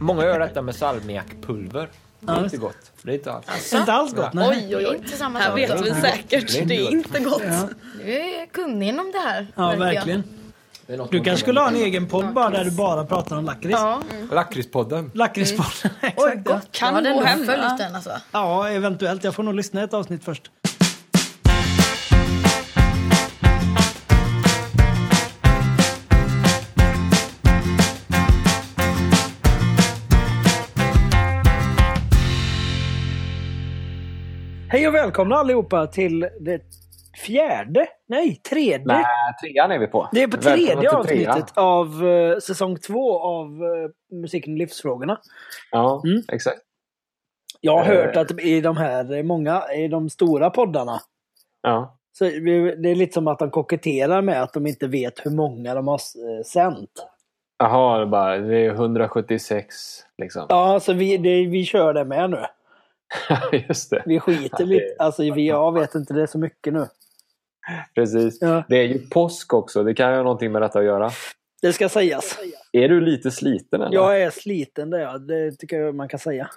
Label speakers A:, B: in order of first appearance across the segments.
A: göra detta med salmiakpulver. Det är inte gott. Det är inte alls.
B: Inte alls gott. Nej.
C: Oj, oj, oj.
D: Inte samma
C: Här
D: sak.
C: vet vi
A: Det är
C: säkert.
A: inte
C: Det är
A: gott.
C: inte gott.
D: Du är kunnig inom det här.
B: Ja,
D: verkar jag.
B: verkligen.
A: Det är något
B: Du
A: man
B: kanske
A: kan
B: skulle ha en
A: göra.
B: egen podd bara där du bara pratar om lakrits.
D: Ja.
B: Mm.
A: Lakritspodden.
B: Lakritspodden.
C: Oj,
B: Exakt. ja.
C: gott. Kan
D: jag hade
C: gå
D: ändå
C: hem.
D: följt den alltså.
B: Ja, eventuellt. Jag får nog lyssna ett avsnitt först. Hej och välkomna allihopa till det fjärde, nej tredje.
E: Nej, trean är vi på.
B: Det är på
E: Välkomna
B: tredje
E: till trean.
B: avsnittet av eh, säsong två av eh, Musiken och livsfrågorna.
E: Ja,
B: Mm.
E: exakt.
B: Jag har
E: Eh.
B: hört att i de här eh, många, i de stora poddarna,
E: Ja.
B: så vi- det är lite som att de koketterar med att de inte vet hur många de har eh, sänt.
E: Jaha, det är bara, det är 176 liksom.
B: Ja, så vi, det, vi kör det med nu.
E: Just det,
B: Vi skiter
E: Ja, det-
B: lite, alltså vi, jag vet inte det är så mycket nu.
E: precis.
B: Ja.
E: Det är ju påsk också, det kan ju ha någonting med detta att göra.
B: Det ska sägas.
E: Är du lite sliten eller?
B: Jag är sliten där, ja. det tycker jag man kan säga.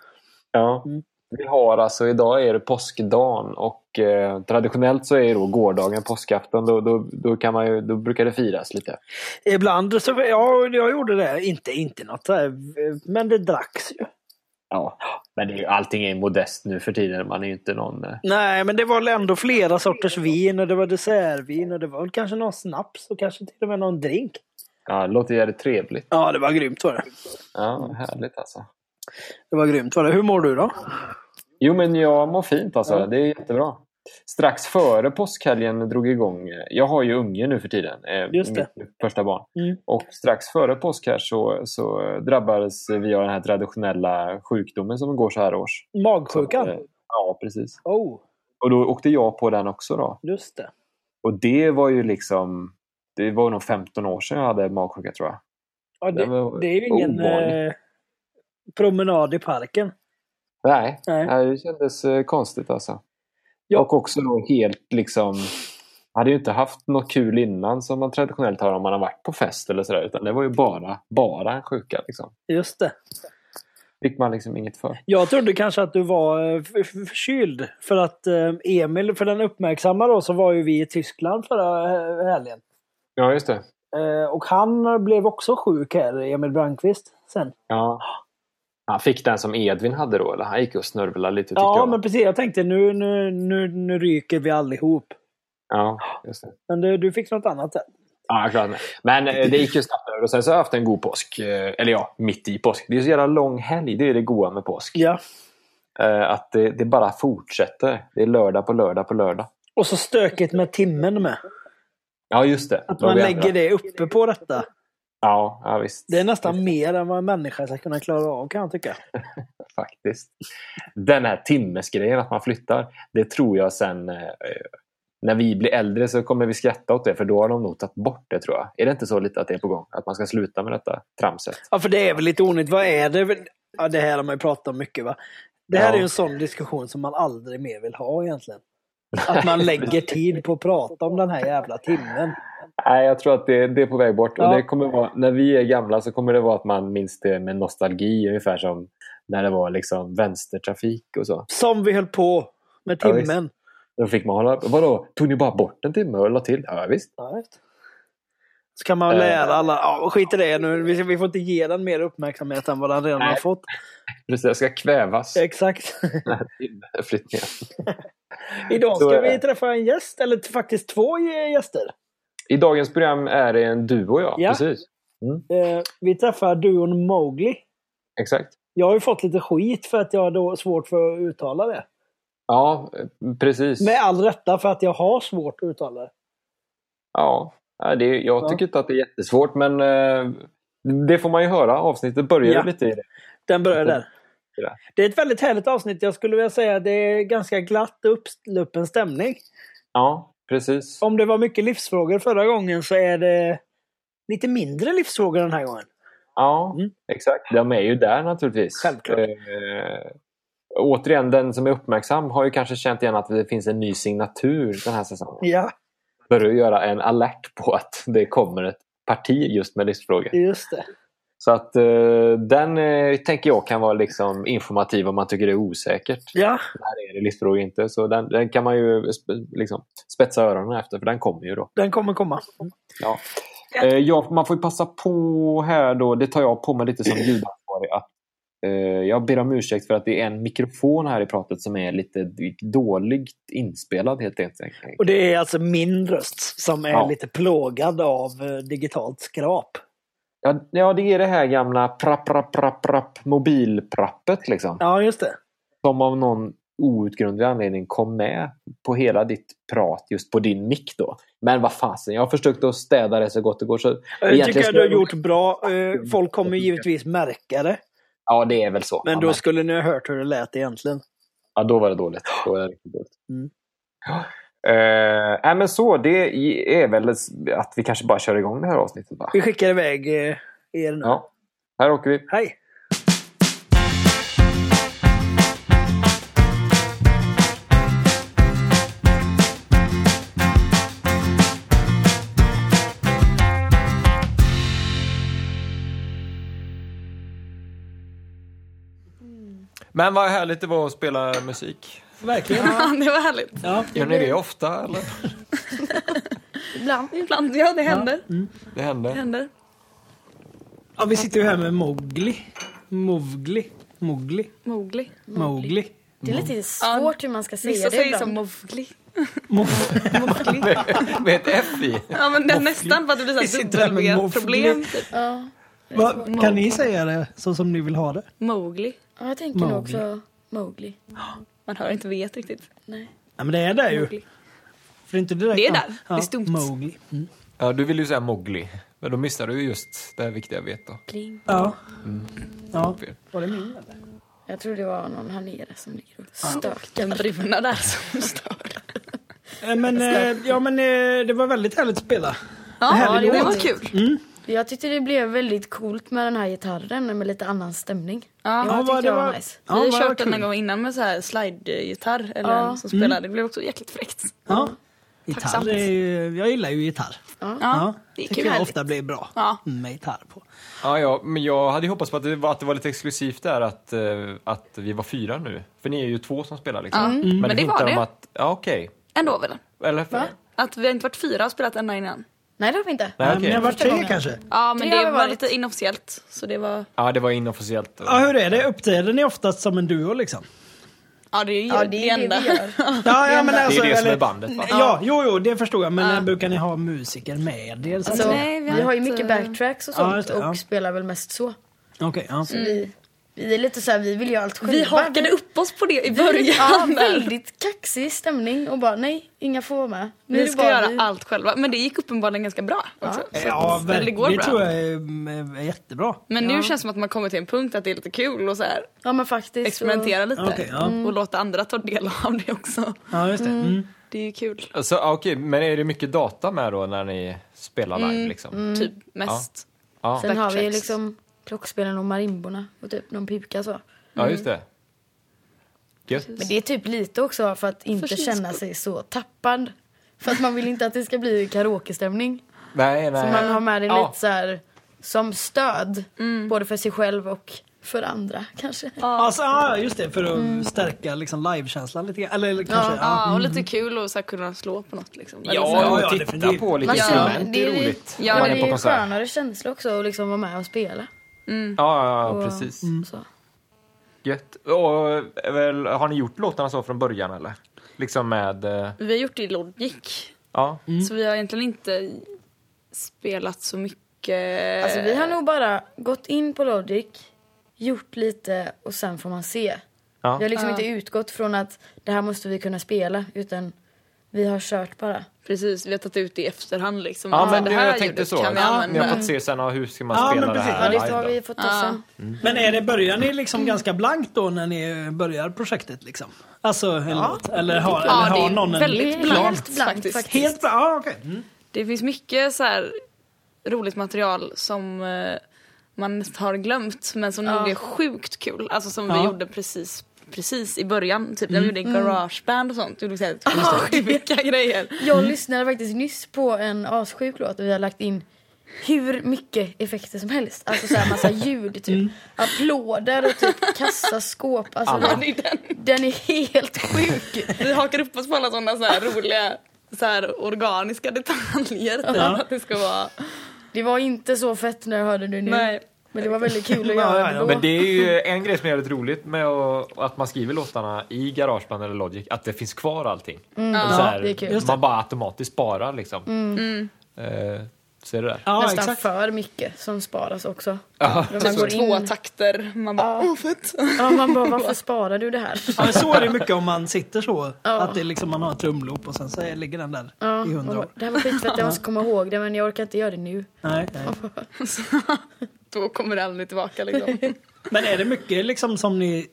E: Ja.
B: Mm.
E: Vi har alltså, idag är det påskdagen och eh, traditionellt så är ju då gårdagen påskafton. Då, då, då, kan man ju, då brukar det firas lite.
B: Ibland så, ja, jag gjorde det. Inte, inte något så här, eh, men det dracks ju.
E: Ja. Men det är ju, allting är modest nu för tiden. Man är ju inte någon... eh,
B: Nej, men det var väl ändå flera sorters vin och det var dessertvin och det var väl kanske någon snaps och kanske till och med någon drink.
E: Ja, det låter jävligt trevligt.
B: Ja, det var grymt var det.
E: Ja, härligt alltså.
B: Det var grymt var det. Hur mår du då?
E: Jo, men jag mår fint alltså.
B: Ja.
E: Det är jättebra. Strax före påskhelgen drog igång. eh, Jag har ju unge nu för tiden. eh,
B: Just det.
E: Mitt första barn.
B: Mm.
E: Och strax före påsk här så, så drabbades vi av den här traditionella sjukdomen som går så här års.
B: Magsjukan?
E: Eh, Ja, precis.
B: Oh,
E: Och då åkte jag på den också då.
B: just det.
E: Och det var ju liksom... Det var nog 15 år sedan jag hade magsjuka tror jag.
B: Ja, det,
E: Det var
B: det är ju ingen
E: ovanligt.
B: eh, promenad i parken.
E: Nej,
B: Nej.
E: Nej, det kändes eh, konstigt alltså.
B: Ja.
E: Och också då helt liksom... Jag hade ju inte haft något kul innan som man traditionellt har om man har varit på fest eller sådär. Utan det var ju bara, bara en sjuka liksom.
B: Just det.
E: Fick man liksom inget för.
B: Jag trodde kanske att du var eh, f- f- förkyld. För att eh, Emil, för den uppmärksamma då, så var ju vi i Tyskland förra eh, helgen.
E: Ja, just det.
B: Eh, och han blev också sjuk här, Emil Brandqvist, sen.
E: Ja. Han fick den som Edvin hade då, eller? Han gick och snörvlade lite tycker
B: Ja,
E: jag.
B: men precis. Jag tänkte nu, nu, nu, nu ryker vi allihop.
E: Ja, just det.
B: Men du, du fick något annat där.
E: Ja, jag klarade mig. Men eh, det gick ju snabbt över och sen så har jag haft en god påsk. Eh, Eller ja, mitt i påsk. Det är ju så jävla lång helg, det är det goa med påsk.
B: Ja.
E: Eh, Att det, det bara fortsätter. Det är lördag på lördag på lördag.
B: Och så stökigt med timmen med.
E: Ja, just det.
B: Att
E: Då
B: man
E: vi andra.
B: lägger det uppe på detta.
E: Ja, ja visst.
B: Det är nästan mer än vad en människa ska kunna klara av kan jag tycka.
E: Faktiskt. Den här timmesgrejen, att man flyttar, det tror jag sen... Eh, när vi blir äldre så kommer vi skratta åt det, för då har de nog tagit bort det, tror jag. Är det inte så lite att det är på gång? Att man ska sluta med detta tramset?
B: Ja, för det är väl lite onödigt. Vad är det? Ja, det här har man ju pratat om mycket va. Det här
E: Ja.
B: är ju en sån diskussion som man aldrig mer vill ha egentligen. Att man lägger tid på att prata om den här jävla timmen.
E: Nej, jag tror att det, det är på väg bort.
B: Ja.
E: Och det kommer vara, när vi är gamla så kommer det vara att man minns det med nostalgi, ungefär som när det var liksom vänstertrafik och så.
B: Som vi höll på med
E: Ja, visst.
B: timmen.
E: Då fick man hålla... Vadå? Tog ni bara bort en timme och la till? Ja, visst.
B: Ja, visst. Så kan man
E: Eh.
B: lära alla. Ja, skit i det nu. Vi, vi får inte ge den mer uppmärksamhet än vad den redan
E: Nej.
B: har fått.
E: Precis, jag ska kvävas.
B: Exakt.
E: Flyttningen.
B: Idag
E: Så
B: ska
E: är det.
B: vi träffa en gäst, eller t- faktiskt två gä- gäster.
E: I dagens program är det en duo, ja.
B: Ja.
E: Precis.
B: Eh, vi träffar duon Mowgli.
E: Exakt.
B: Jag har ju fått lite skit för att jag har då svårt för att uttala det.
E: Ja, eh, precis.
B: Med all rätta för att jag har svårt att uttala det.
E: Ja. Ja, det, är- jag
B: Ja.
E: tycker inte att det är jättesvårt, men eh, det får man ju höra. Avsnittet börjar
B: Ja.
E: ju lite i det.
B: Den börjar där.
E: Ja.
B: Det är ett väldigt härligt avsnitt. Jag skulle vilja säga att det är ganska glatt och uppsluppen stämning.
E: Ja, precis.
B: Om det var mycket livsfrågor förra gången så är det lite mindre livsfrågor den här gången.
E: Ja,
B: Mm.
E: exakt. De är ju där naturligtvis.
B: Självklart.
E: Eh, återigen, den som är uppmärksam har ju kanske känt igen att det finns en ny signatur den här säsongen.
B: Ja,
E: För att göra en alert på att det kommer ett parti just med livsfrågor.
B: just det.
E: Så att eh, den eh, tänker jag kan vara liksom informativ om man tycker det är osäkert.
B: Ja,
E: Här är det listor och inte. Så den, den kan man ju sp- liksom spetsa öronen efter för den kommer ju då.
B: den kommer komma.
E: Ja. Eh, ja, man får ju passa på här då, det tar jag på mig lite som ljudansvarig, att eh, jag ber om ursäkt för att det är en mikrofon här i pratet som är lite d- dåligt inspelad helt enkelt.
B: Och det är alltså min röst som är
E: Ja.
B: lite plågad av eh, digitalt skrap.
E: Ja, ja, det är det här gamla prapp, prapp, prapp, prapp, mobilprappet liksom.
B: Ja, just det.
E: Som av någon outgrundlig anledning kom med på hela ditt prat just på din mick då. Men vad fasen, jag har försökt att städa det så gott det går. Så
B: Jag
E: egentligen
B: tycker jag
E: skulle
B: du har
E: jag-
B: gjort bra. Eh, Folk kommer givetvis märka det.
E: Ja, det är väl så.
B: Men
E: Ja,
B: då skulle ni ha hört hur det lät egentligen.
E: Ja, då var det dåligt. Då var det riktigt dåligt.
B: Mm.
E: Ja. Eh, nej, men så, det är väl att vi kanske bara kör igång det här avsnittet. Va?
B: Vi skickar iväg eh, er nu.
E: Ja. Här åker vi.
B: Hej!
A: Men vad härligt det var att spela musik.
B: Verkligen.
C: Ja, det var härligt.
B: Ja.
A: Gör ni det ofta eller?
D: Ibland.
C: Ibland, ja det händer.
A: Det
C: Det
A: händer.
C: händer.
B: ja, vi sitter ju här med Mowgli. Mowgli. Mowgli.
C: Mowgli.
B: Mowgli.
D: Det är lite svårt hur man ska säga
C: Vissa
D: det
C: säger
D: ibland.
C: som Mowgli.
B: Mowgli.
C: Mowgli.
A: Med ett F i.
C: Ja men det är nästan för att det blir
B: Vi
C: såhär
B: sitter här med
C: dubbel-V-problem. typ.
D: Ja.
B: Vad- Kan ni säga det så som ni vill ha det?
C: Mowgli.
D: ja, jag tänker nog också Mowgli.
C: Man hör inte vet riktigt.
D: Nej.
B: Ja, men det är där ju.
C: Mowgli.
B: För det är inte direkt
C: Det är
B: han-
C: där. Det är stumt.
B: Mowgli. Mm.
A: Ja, du vill ju säga Mowgli. Men då missar du ju just det här viktiga vet då.
D: Kling.
B: Ja. ja.
A: Fel.
B: Var det min eller?
D: Jag tror det var någon här nere som ligger och stökar.
C: Den bruna där som stör.
B: Eh, Men, eh, ja, men eh, det var väldigt härligt att spela.
C: Ja,
D: härlig
C: det var
D: låt.
C: kul.
D: Jag tyckte det blev väldigt coolt med den här gitarren med lite annan stämning. jag
C: Ja,
D: tyckte
B: vad-
D: det
B: det
D: var,
B: var-
D: nice.
B: Ja,
C: vi har
B: vad
C: kört
B: kul. Mm.
C: den en gång innan med så här slide-gitarr eller
D: Ja.
C: en som spelade. Det blev också jäkligt fräckt.
B: Ja. Gitarr
C: Tacksamt.
B: är ju, jag gillar ju gitarr.
C: Ja, det gick
B: tycker
C: ju
B: jag
C: härligt.
B: ofta blir bra
C: Ja.
B: med gitarr på.
A: Ja, ja, men jag hade ju hoppats på att det var, att det var lite exklusivt där att, eh, att vi var fyra nu. För ni är ju två som spelar liksom.
C: Ja, men det var
A: hintar
C: det.
A: Om att, ja, okej.
C: Ändå väl?
A: Eller? Va?
C: Att vi har inte varit fyra och spelat en dag innan.
D: Nej det har vi inte.
A: Nej,
B: Men
A: okej.
B: jag har varit tre
D: gången.
B: kanske.
C: Ja, men
D: Det har
C: det,
D: vi
C: var
D: varit.
C: lite inofficiellt. Så det var...
A: Ja, det var inofficiellt.
B: Ja, hur är det? Uppträder ni oftast som en duo liksom?
C: Ja, det är ju
D: Ja,
C: det,
D: det är det
C: enda.
D: vi gör.
B: Ja, ja men
A: Det
B: alltså...
A: är det som
B: eller-
A: är bandet va?
B: Ja, jo, jo, det förstår jag. Men när brukar ni ha musiker med er? så att
D: Alltså,
B: säga?
C: Nej, vi har
D: vi har ju
C: inte-
D: mycket backtracks och
B: Ja,
D: sånt
B: just det, ja.
D: och spelar väl mest så.
B: Okej, ja.
C: Mm.
D: Vi, vi är lite så här, vi vill ju allt själva.
C: Vi hakade upp oss på det i
D: Ja,
C: början. där.
D: väldigt kaxig stämning och bara nej, inga får vara med. Nu är
C: Vi
D: det
C: ska
D: bara
C: göra
D: vi.
C: allt själva. Men det gick uppenbarligen ganska bra. Också. Så
B: Ja,
C: att
B: verkligen.
C: det går
B: det
C: bra.
B: tror jag är, mm, är jättebra.
C: Men nu känns det som att man kommer till en punkt att det är lite kul och så Mm. här,
D: Ja men faktiskt.
C: experimentera lite.
B: Okej, ja.
C: Och låta andra ta del av det också.
B: Ja, just det. Mm.
C: Det är ju kul.
A: Så, ja, Alltså, ah, okej, men är det mycket data med då när ni spelar live liksom?
C: Typ mest.
A: Ja.
D: Och, sen har vi ju
C: backtracks.
D: liksom klockspelen och marimborna och typ någon pipka så.
A: ja, just det. Gött.
D: Men det är typ lite också för att inte
C: sin
D: känna sig så tappad. För att man vill inte att det ska bli karaokestämning.
A: Nej,
D: Så
A: nej.
D: man har med det
A: Ja.
D: lite så här som stöd.
C: Mm.
D: Både för sig själv och för andra kanske.
B: Alltså, ja, just det. För att stärka liksom, livekänslan lite grann. Eller, eller kanske... Ja.
C: Ja,
A: Mm.
C: och lite kul och så här, kunna slå på något liksom. Eller så här-
A: Ja,
B: ja,
A: och titta
B: definitivt.
A: på lite
D: Man känner-
A: instrument, det är roligt.
C: Ja,
A: när man är
D: det
A: på
D: är ju
A: konsert.
D: skönare känsla också att liksom vara med och spela.
A: Ja, ja, ja, precis.
D: Så.
A: Gött. Och, eh, väl, har ni gjort låtarna så från början eller? Liksom med... eh,
C: Vi har gjort det i Logic.
A: Ja.
C: Så vi har egentligen inte spelat så mycket.
D: Alltså vi har nog bara gått in på Logic, gjort lite och sen får man se.
A: Ja.
D: Vi har liksom inte utgått från att det här måste vi kunna spela utan vi har kört bara.
C: Precis, vi har tagit ut det i efterhand liksom.
A: Ja,
C: Alltså,
A: men
C: det
A: det,
C: här
A: jag tänkte
C: ljudet
A: så.
C: Kan vi
A: ja, ni
C: använda.
A: har fått se sen ja, hur ska man
B: Ja,
A: spela
B: men
A: det
B: precis.
A: här
D: Ja det
A: live
D: har
A: då?
D: vi fått ta sen.
B: Men är det, börjar ni liksom ganska blankt då när ni börjar projektet? Liksom? Alltså, en låt? Eller har, eller
C: Ja, det
B: har
C: är
B: någon en...
C: väldigt
D: Det är
C: blankt,
D: helt blankt
C: faktiskt.
D: faktiskt.
B: Helt bra? Ja, okej. Mm.
C: Det finns mycket så här roligt material som eh, man har glömt men som nog är sjukt kul. Alltså som
B: Ja.
C: vi gjorde precis, precis i början. Typ
D: Mm.
C: när vi gjorde garageband och sånt. Gjorde vi så här sjuka grejer.
D: Jag lyssnade faktiskt nyss på en assjuk låt och vi har lagt in hur mycket effekter som helst. Alltså så här massa ljud, typ.
A: Mm.
D: Applåder och typ kassaskåp. Alltså
E: Alla.
D: den,
C: Det är den.
D: den är helt sjuk.
C: Vi hakar upp oss på alla sådana så här roliga så här organiska detaljer. Typ, att det ska vara...
D: Det var inte så fett när jag hörde det nu.
C: Nej.
D: Men det var väldigt kul
B: Ja,
D: att göra
B: ja,
D: det
B: ja,
D: då.
A: Men det är ju en grej som är väldigt roligt med att, att man skriver låtarna i Garageband eller Logic, att det finns kvar allting.
D: Mm. Ja,
A: så här,
D: det är kul. Mm.
B: Just det.
A: Man bara automatiskt sparar liksom. Eh, ser du det?
B: Ja,
D: Nästan
B: exakt.
D: för mycket som sparas också. När man
C: Typ
D: går
C: två
D: in.
C: takter. Man bara, åh fett.
D: Ja, man bara, varför sparar du det här?
B: Ja, men så är det mycket om man sitter så.
D: Ja.
B: Att det är liksom, man har ett trumloop och sen så är- ligger den där
D: Ja,
B: i
D: man
B: hundra
D: bara,
B: år.
D: det här var skitfett, jag måste komma ihåg det men jag orkar inte göra det nu.
C: Alltså,
B: Nej, nej.
C: Då kommer det aldrig tillbaka liksom.
B: Men är det mycket liksom som ni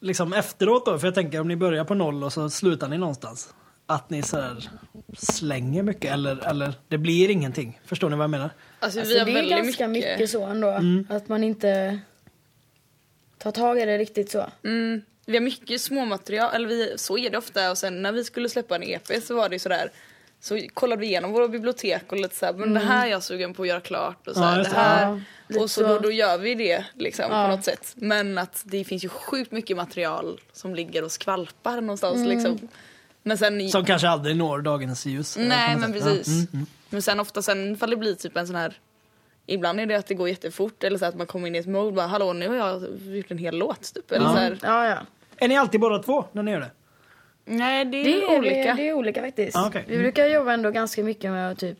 B: liksom efteråt då? För jag tänker om ni börjar på noll och så slutar ni någonstans. Att ni så här slänger mycket eller, eller det blir ingenting. Förstår ni vad jag menar?
C: Alltså,
D: Alltså,
C: vi har
D: det är
C: väldigt
D: ganska mycket, så ändå.
B: Mm.
D: Att man inte tar tag i det riktigt så.
C: Mm, vi har mycket småmaterial, eller vi, så är det ofta. Och sen när vi skulle släppa en EP så var det ju sådär så kollade vi igenom våra bibliotek och lite såhär, men det här är jag sugen på att göra klart och så
B: Mm. Ja,
C: här,
B: just
C: det
B: det.
D: Ja,
C: här.
D: lite
C: och så då,
D: så.
C: då gör vi det liksom
D: Ja.
C: på något sätt. Men att det finns ju sjukt mycket material som ligger och skvalpar någonstans liksom. Men sen...
B: Mm. Som kanske aldrig når dagens ljus.
C: nej men
B: Ja.
C: precis.
B: Mm.
C: Men sen ofta sen ifall det blir typ en sån här Ibland är det att det går jättefort eller så att man kommer in i ett mode bara hallå nu har jag gjort en hel låt typ. Eller så här,
D: Ja, ja.
B: Är ni alltid båda två när ni gör det?
C: nej det är,
D: Det är
C: olika.
D: Det är olika faktiskt.
B: Ja, okej.
D: Vi brukar jobba ändå ganska mycket med typ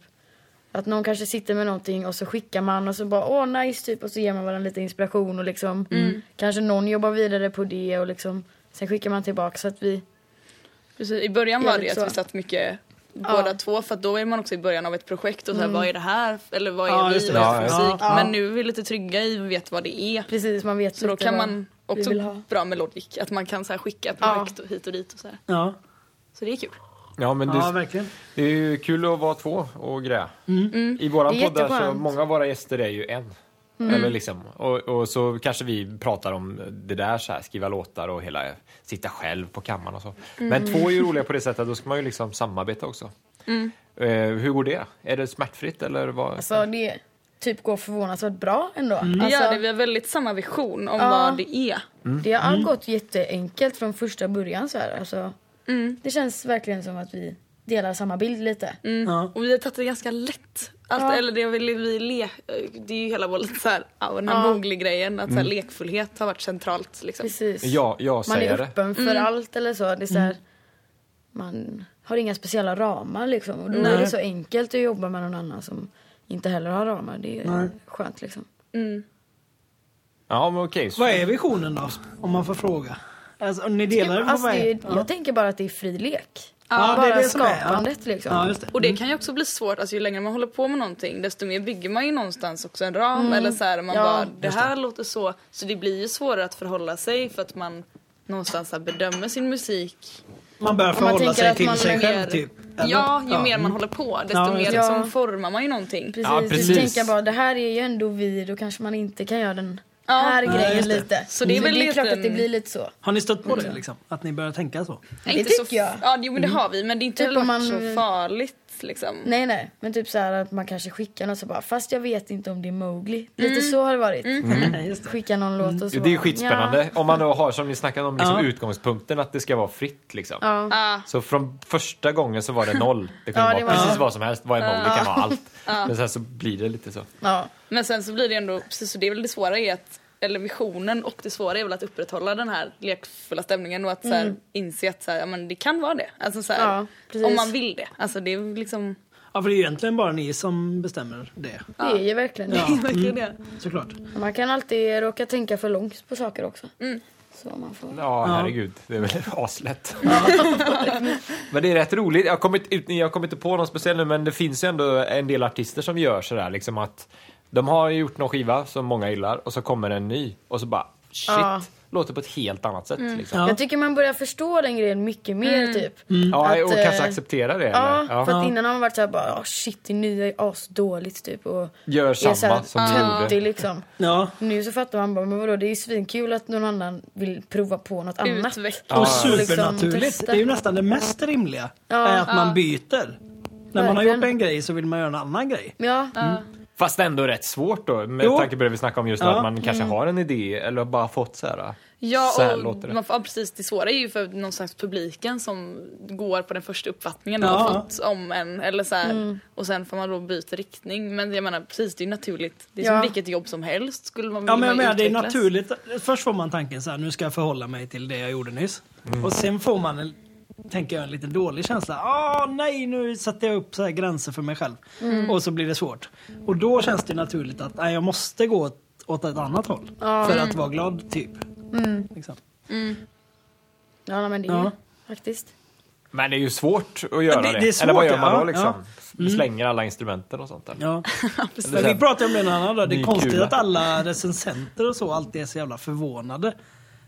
D: att någon kanske sitter med någonting och så skickar man och så bara åh nice typ och så ger man varandra lite inspiration och liksom
C: Mm.
D: kanske någon jobbar vidare på det och liksom sen skickar man tillbaka så att vi
C: Precis, I början
D: Ja,
C: var
D: typ
C: det ju att
D: så.
C: vi satt mycket båda två för att då är man också i början av ett projekt och så här,
D: Mm.
C: vad är det här eller vad är
B: Ja,
C: vi,
B: just det.
C: vad är det
A: Ja,
C: för
B: ja.
C: musik. Men nu är vi lite trygga i och vet vad det är.
D: precis man vet
C: Så då
D: lite
C: kan
D: vad
C: man
D: vi
C: också
D: vill ha.
C: bra med Logic, att man kan så här skicka projekt och hit och dit och så här.
B: Ja,
C: Så det är kul.
A: Ja, men
B: ja
A: det,
B: verkligen.
A: det är ju kul att vara två och greja. I våra
D: Mm. Det är
A: poddar så
D: jätteskönt. Mm.
A: många av våra gäster är ju en. Eller liksom, och, och så kanske vi pratar om det där så här, skriva låtar och hela sitta själv på kammaren och så.
D: Mm.
A: Men två är ju roliga på det sättet att då ska man ju liksom samarbeta också. Eh, hur går det? Är det smärtfritt eller vad?
D: Alltså det typ går förvånansvärt bra ändå.
C: Vi
D: Alltså,
C: gör det, vi har väldigt samma vision om
D: Ja.
C: vad det är.
D: Det har allt gått jätteenkelt från första början så här. Alltså,
C: Mm.
D: Det känns verkligen som att vi delar samma bild lite.
B: Ja.
C: Mm. Och vi har tagit det ganska lätt. Allt,
D: Ja.
C: Eller det, vill vi le, eh, det är ju hela vår lite så här, ja, den här
D: Ja.
C: Mowgli-grejen, att så
B: Mm.
C: här, lekfullhet har varit centralt liksom.
D: Precis.
A: Ja, jag
D: man
A: säger
D: är
A: det.
D: öppen för
B: Mm.
D: allt eller så. Det är så här, Man har inga speciella ramar liksom. Och då är det så enkelt att jobba med någon annan som inte heller har ramar. Det är skönt liksom.
A: Ja, men okej. så-
B: Vad är visionen då? Om man får fråga. Alltså, ni delar det på
D: Alltså,
B: vad
D: det
B: är?
D: är, jag tänker bara att det är fri lek.
B: Ja,
D: bara
B: det är det som är, ja.
D: skapandet liksom.
B: Ja, just det.
C: Och det kan ju också bli svårt, alltså ju längre man håller på med någonting desto mer bygger man ju någonstans också en ram eller så här, man
D: Mm. Ja.
C: bara det här låter så. Så det blir ju svårare att förhålla sig för att man någonstans så här bedömer sin musik.
B: Man bör
D: man
B: förhålla
D: tänker
B: sig
D: att
B: till
D: man
B: sig
D: lägger-
B: själv typ. eller?
C: Ja, ju mer man håller på desto
B: Ja,
C: mer
B: just
D: det.
C: liksom
D: Ja.
C: formar man ju någonting.
D: Precis,
A: Ja,
D: Du
A: precis.
D: tänker bara det här är ju ändå vi, då kanske man inte kan göra den
C: Ja.
D: här
C: Ja,
D: grejen
B: just det.
D: lite.
C: Så det är väl
D: det är
C: lite
D: klart att det
C: en-
D: blir lite så.
B: Har ni stött på
D: Mm.
B: det liksom? Att ni börjar tänka så?
C: Nej,
D: det
C: inte så,
D: tycker jag.
C: Ja, jo, men det har vi men det är inte
D: Typ
C: heller
D: om
C: varit
D: man-
C: så farligt liksom.
D: Nej nej, men typ så här att man kanske skickar något så bara fast jag vet inte om det är Mowgli. Lite så har det varit.
B: Nej, Mm. just det.
D: Skicka någon låt och så
A: Mm. Det är ju
D: bara,
A: skitspännande. Om man då har, som ni snackade om, liksom
B: Ja.
A: utgångspunkten att det ska vara fritt. Liksom.
D: Ja. ja.
C: Ah,
A: Så från första gången så var det noll. Det kunde
D: Ja,
A: vara
D: det var-
A: precis vad som helst. Vad är noll? Det kan vara allt. Men sen så blir det lite så.
D: ja.
C: men sen så blir det ändå, precis så det är väl det svåra är att eller visionen och det svåra är väl att upprätthålla den här lekfulla stämningen och att så här, inse att så här, ja, men det kan vara det. Alltså, så här,
D: Ja, precis.
C: om man vill det. Alltså, det är liksom...
B: Ja, för det är ju egentligen bara ni som bestämmer det,
D: Det är ju verkligen det.
B: Ja.
C: Verkligen det.
B: såklart.
D: Man kan alltid råka tänka för långt på saker också.
B: Mm.
D: Så man får...
A: Ja, herregud. Det är väl aslätt. men det är rätt roligt. Jag kommer, inte ut, jag kommer inte på någon speciell nu, men det finns ju ändå en del artister som gör sådär. Liksom att de har gjort någon skiva som många gillar och så kommer en ny och så bara shit,
D: Ja.
A: låter på ett helt annat sätt. Liksom.
B: Ja.
D: Jag tycker man börjar förstå den grejen mycket mer
B: Mm.
D: typ.
A: Mm. Ja,
D: Att,
A: och kanske
D: eh,
A: acceptera det.
D: Ja,
A: eller? Ja.
D: för att innan har man varit såhär bara oh, shit det nya är asdåligt typ och
A: Gör
D: är så här
A: samma som du gjorde.
D: töntig liksom.
B: Ja.
D: Nu så fattar man bara men vadå det är ju svinkul att någon annan vill prova på något annat.
C: Utveckla.
B: Och
D: liksom
B: supernaturligt.
D: testa.
B: det är ju nästan det mest rimliga.
D: Ja.
B: är att man byter. När man har
D: Verkligen.
B: gjort en grej så vill man göra en annan grej.
D: Ja, Mm.
A: Fast ändå rätt svårt då med
B: Jo.
A: tanke på det vi snackade om just nu.
B: Ja.
A: Att man kanske har en idé eller bara fått så här.
C: Ja,
A: så här
C: och
A: låter det.
C: Man får, ja, precis. Det svåra är ju för någonstans publiken som går på den första uppfattningen
B: Ja.
C: de har fått om en. Eller så här. Och sen får man då byta riktning. Men jag menar precis, det är ju naturligt. Det är
D: Ja.
C: som vilket jobb som helst. Skulle man
B: Ja,
C: vill
B: men jag
C: man ju
B: menar, det är
C: utvecklas.
B: naturligt. Först får man tanken så här, nu ska jag förhålla mig till det jag gjorde nyss. Och sen får man, en, tänker jag, en lite dålig känsla. Ah, nej, nu sätter jag upp så här gränser för mig själv.
D: Mm.
B: Och så blir det svårt. Och då känns det naturligt att nej, jag måste gå åt, åt ett annat håll.
D: Ja. Mm.
B: För att vara glad, typ. Liksom.
D: Ja, nej, men det är
B: Ja.
D: ju faktiskt.
A: Men det är ju svårt att göra
B: det-
A: det.
B: det är svårt,
A: eller vad gör man
B: ja,
A: då liksom? Slänger alla instrumenten och sånt där?
B: Ja.
A: Eller
B: Men
A: så här-
B: vi pratade om det en annan dag. Det är
A: Ny
B: konstigt
A: kula.
B: att alla recensenter och så alltid är så jävla förvånade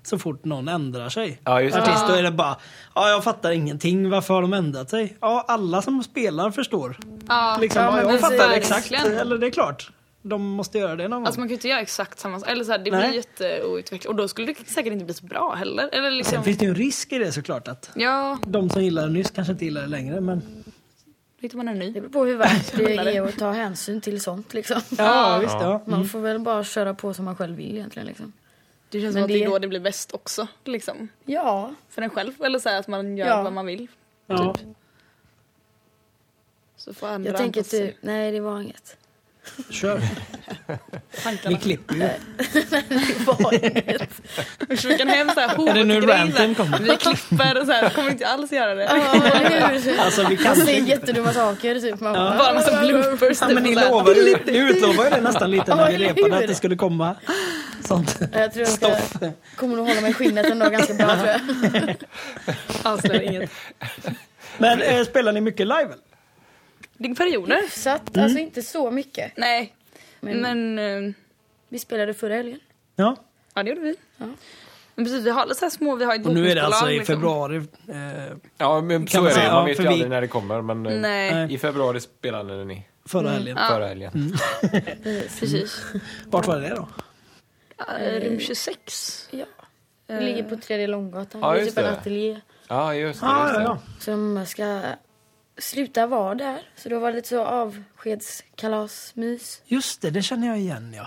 B: så fort någon ändrar sig.
A: Ja, just det.
B: Artist, då är det bara, ja jag fattar ingenting, varför har de ändrat sig? Ja, alla som spelar förstår.
C: Ja.
B: Liksom,
D: Ja,
B: ja,
D: men
B: jag
D: precis.
B: fattar exakt,
C: Verkligen.
B: eller det är klart. De måste göra det någon gång.
C: Alltså man kan ju inte göra exakt samma sak. Eller så här, det
B: Mm. Nej.
C: blir jätteoutvecklat. Och då skulle det säkert inte bli så bra heller. Eller liksom,
B: Sen finns det ju en risk i det såklart att
C: ja,
B: de som gillar det nyss kanske inte gillar det längre. Men
C: då hittar man en ny.
D: Det beror på hur värt det är att ta hänsyn till sånt liksom.
B: ja, Mm. visst ja.
D: Man får väl bara köra på som man själv vill egentligen liksom.
C: Det känns
D: Men
C: som att det
D: det-
C: är då det blir bäst också. Liksom.
D: Ja,
C: För en själv. Eller så här, att man gör
D: Ja.
C: vad man vill.
B: ja.
C: Så får andra
D: jag tänker
C: anpassa sig.
D: typ, nej det var inget.
B: Kör, vi
C: tankarna.
B: klipper ju.
D: Det var inget.
C: Usch, vi kan hem så här,
B: typ- Är det nu
C: hotgrej, så här,
B: ranten kommer?
C: Vi klipper och så här, kommer inte alls göra det.
D: Ja, eller hur?
B: Alltså vi
D: Man
B: kan
D: säger jättedumma saker typ. Man bara,
C: Bara en massa bloopers.
B: Ja,
C: typ,
B: men ni
C: och så här.
B: lovade ju, ni utlovade ju det nästan lite när vi
D: Ja,
B: repade att
D: hur?
B: det skulle komma sånt.
D: jag tror jag ska,
B: Stoff.
D: kommer nog hålla mig i skinnet en dag ganska bra tror jag.
C: Avslöjar inget.
B: Men eh, spelar ni mycket live? eller?
C: Det är perioder.
D: Så att, alltså inte så mycket.
C: Nej,
D: Men,
C: men, eh,
D: vi spelade förra helgen.
B: Ja.
C: ja det gjorde vi.
D: Ja.
C: Men precis, vi har lite så här små, vi har ett
B: Och nu är det
C: bokningsbolag,
B: alltså i
C: liksom.
B: februari. Eh,
A: Ja, men
B: Kan
A: så
B: man
A: är det.
B: säga,
A: Man
B: ja,
A: vet
B: för
A: ju
B: vi-
A: aldrig när det kommer. Men eh,
C: Nej,
B: Nej. Mm.
A: i februari spelade ni
B: förra helgen.
A: förra helgen.
C: precis.
B: Mm. Vart var det då?
C: Ja, Rum 26.
D: Ja. Vi ligger
C: Eh.
D: på tredje långgatan.
A: Ja,
D: det är
A: just
D: typ en
A: det.
D: ateljé.
A: Ja, just det.
B: Ah,
A: just
B: ja,
A: det.
B: ja.
D: Som ska sluta vara där. Så då var det lite så avskedskalasmys.
B: Just det, det känner jag igen ja.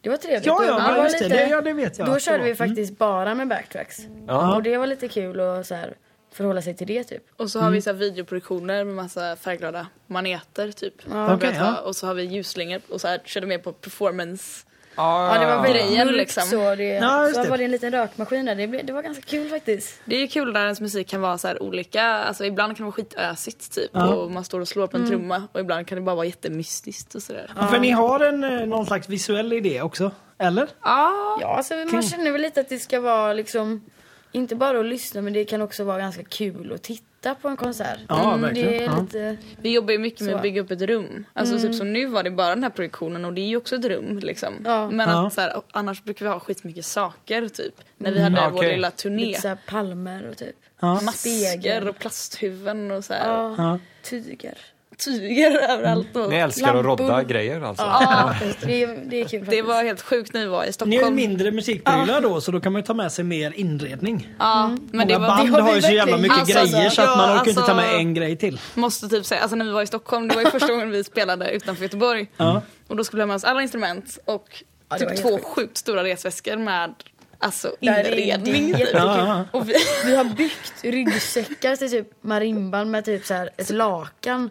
D: Det var trevligt.
B: Ja,
D: Och
B: ja, men
D: var
B: just det.
D: lite-
B: Det- ja, det vet jag
D: Då
B: att det
D: körde
B: var.
D: vi
B: Mm.
D: faktiskt bara med backtracks.
A: Ja.
D: Och det var lite kul att så här, förhålla sig till det typ.
C: Och så har
B: Mm.
C: vi så här videoproduktioner med massa färgglada maneter typ.
D: Ja.
B: Okej,
C: Börjat ha.
B: ja.
C: Och så har vi ljusslingor och så här, körde med på performance.
A: Ja,
D: Ja, det var väldigt
C: Grejen,
D: mörkt
C: liksom.
D: så. Det,
B: Ja, just
D: så
B: det.
D: var det en liten rökmaskin där. Det, blev, det var ganska kul faktiskt.
C: Det är ju kul när ens musik kan vara så här olika. Alltså ibland kan det vara skitösigt typ
B: Ja.
C: och man står och slår på en
D: Mm.
C: trumma och ibland kan det bara vara jättemystiskt och sådär. Ja,
B: För ni har en, eh, någon slags visuell idé också, eller?
D: Ja, alltså, man känner väl lite att det ska vara liksom, inte bara att lyssna men det kan också vara ganska kul att titta på en konsert.
B: Ja,
D: Mm, det
B: verkligen.
D: är
B: Ja.
D: lite,
C: vi jobbar ju mycket med
D: Så. Mm.
C: att bygga upp ett rum. Alltså typ som nu var det bara den här produktionen och det är ju också ett rum liksom.
D: Ja.
C: Men
B: Ja.
C: att så här, annars brukar vi ha skitmycket saker typ. När vi hade
A: Mm,
C: vår
A: okej.
C: lilla turné.
D: lite så här palmer och typ
B: Ja.
D: spegel.
C: Masker och plasthuvuden och så här.
D: Ja,
B: Ja.
D: tyger.
C: Tyger överallt. Och...
A: Ni älskar att
D: Lampor.
A: rodda grejer alltså?
D: Ja, det, är- det är kul faktiskt.
C: Det var helt sjukt när vi var
B: Ni
C: i
B: har ju
C: Stockholm.
B: mindre musikprylar då, så då kan man ju ta med sig mer inredning.
C: Ja, men det
B: Många
C: var,
B: band
D: det har
B: har ju
D: vi
B: så jävla
D: verkligen.
B: mycket
C: Alltså, alltså,
B: grejer så att
C: ja,
B: man orkar ju inte ta med
C: alltså-
B: en grej till.
C: måste typ säga, alltså när vi var i Stockholm, det var ju första gången vi spelade utanför Göteborg.
B: Ja.
C: Och då skulle vi ha med oss alla instrument och
D: det var
C: typ
D: helt
C: två
D: sjukt.
C: sjukt stora resväskor med alltså
D: Där är det-
C: inredning.
D: det är
C: typ.
B: Ja, ja.
C: Och vi,
D: Vi har byggt ryggsäckar till typ marimban med typ så här ett lakan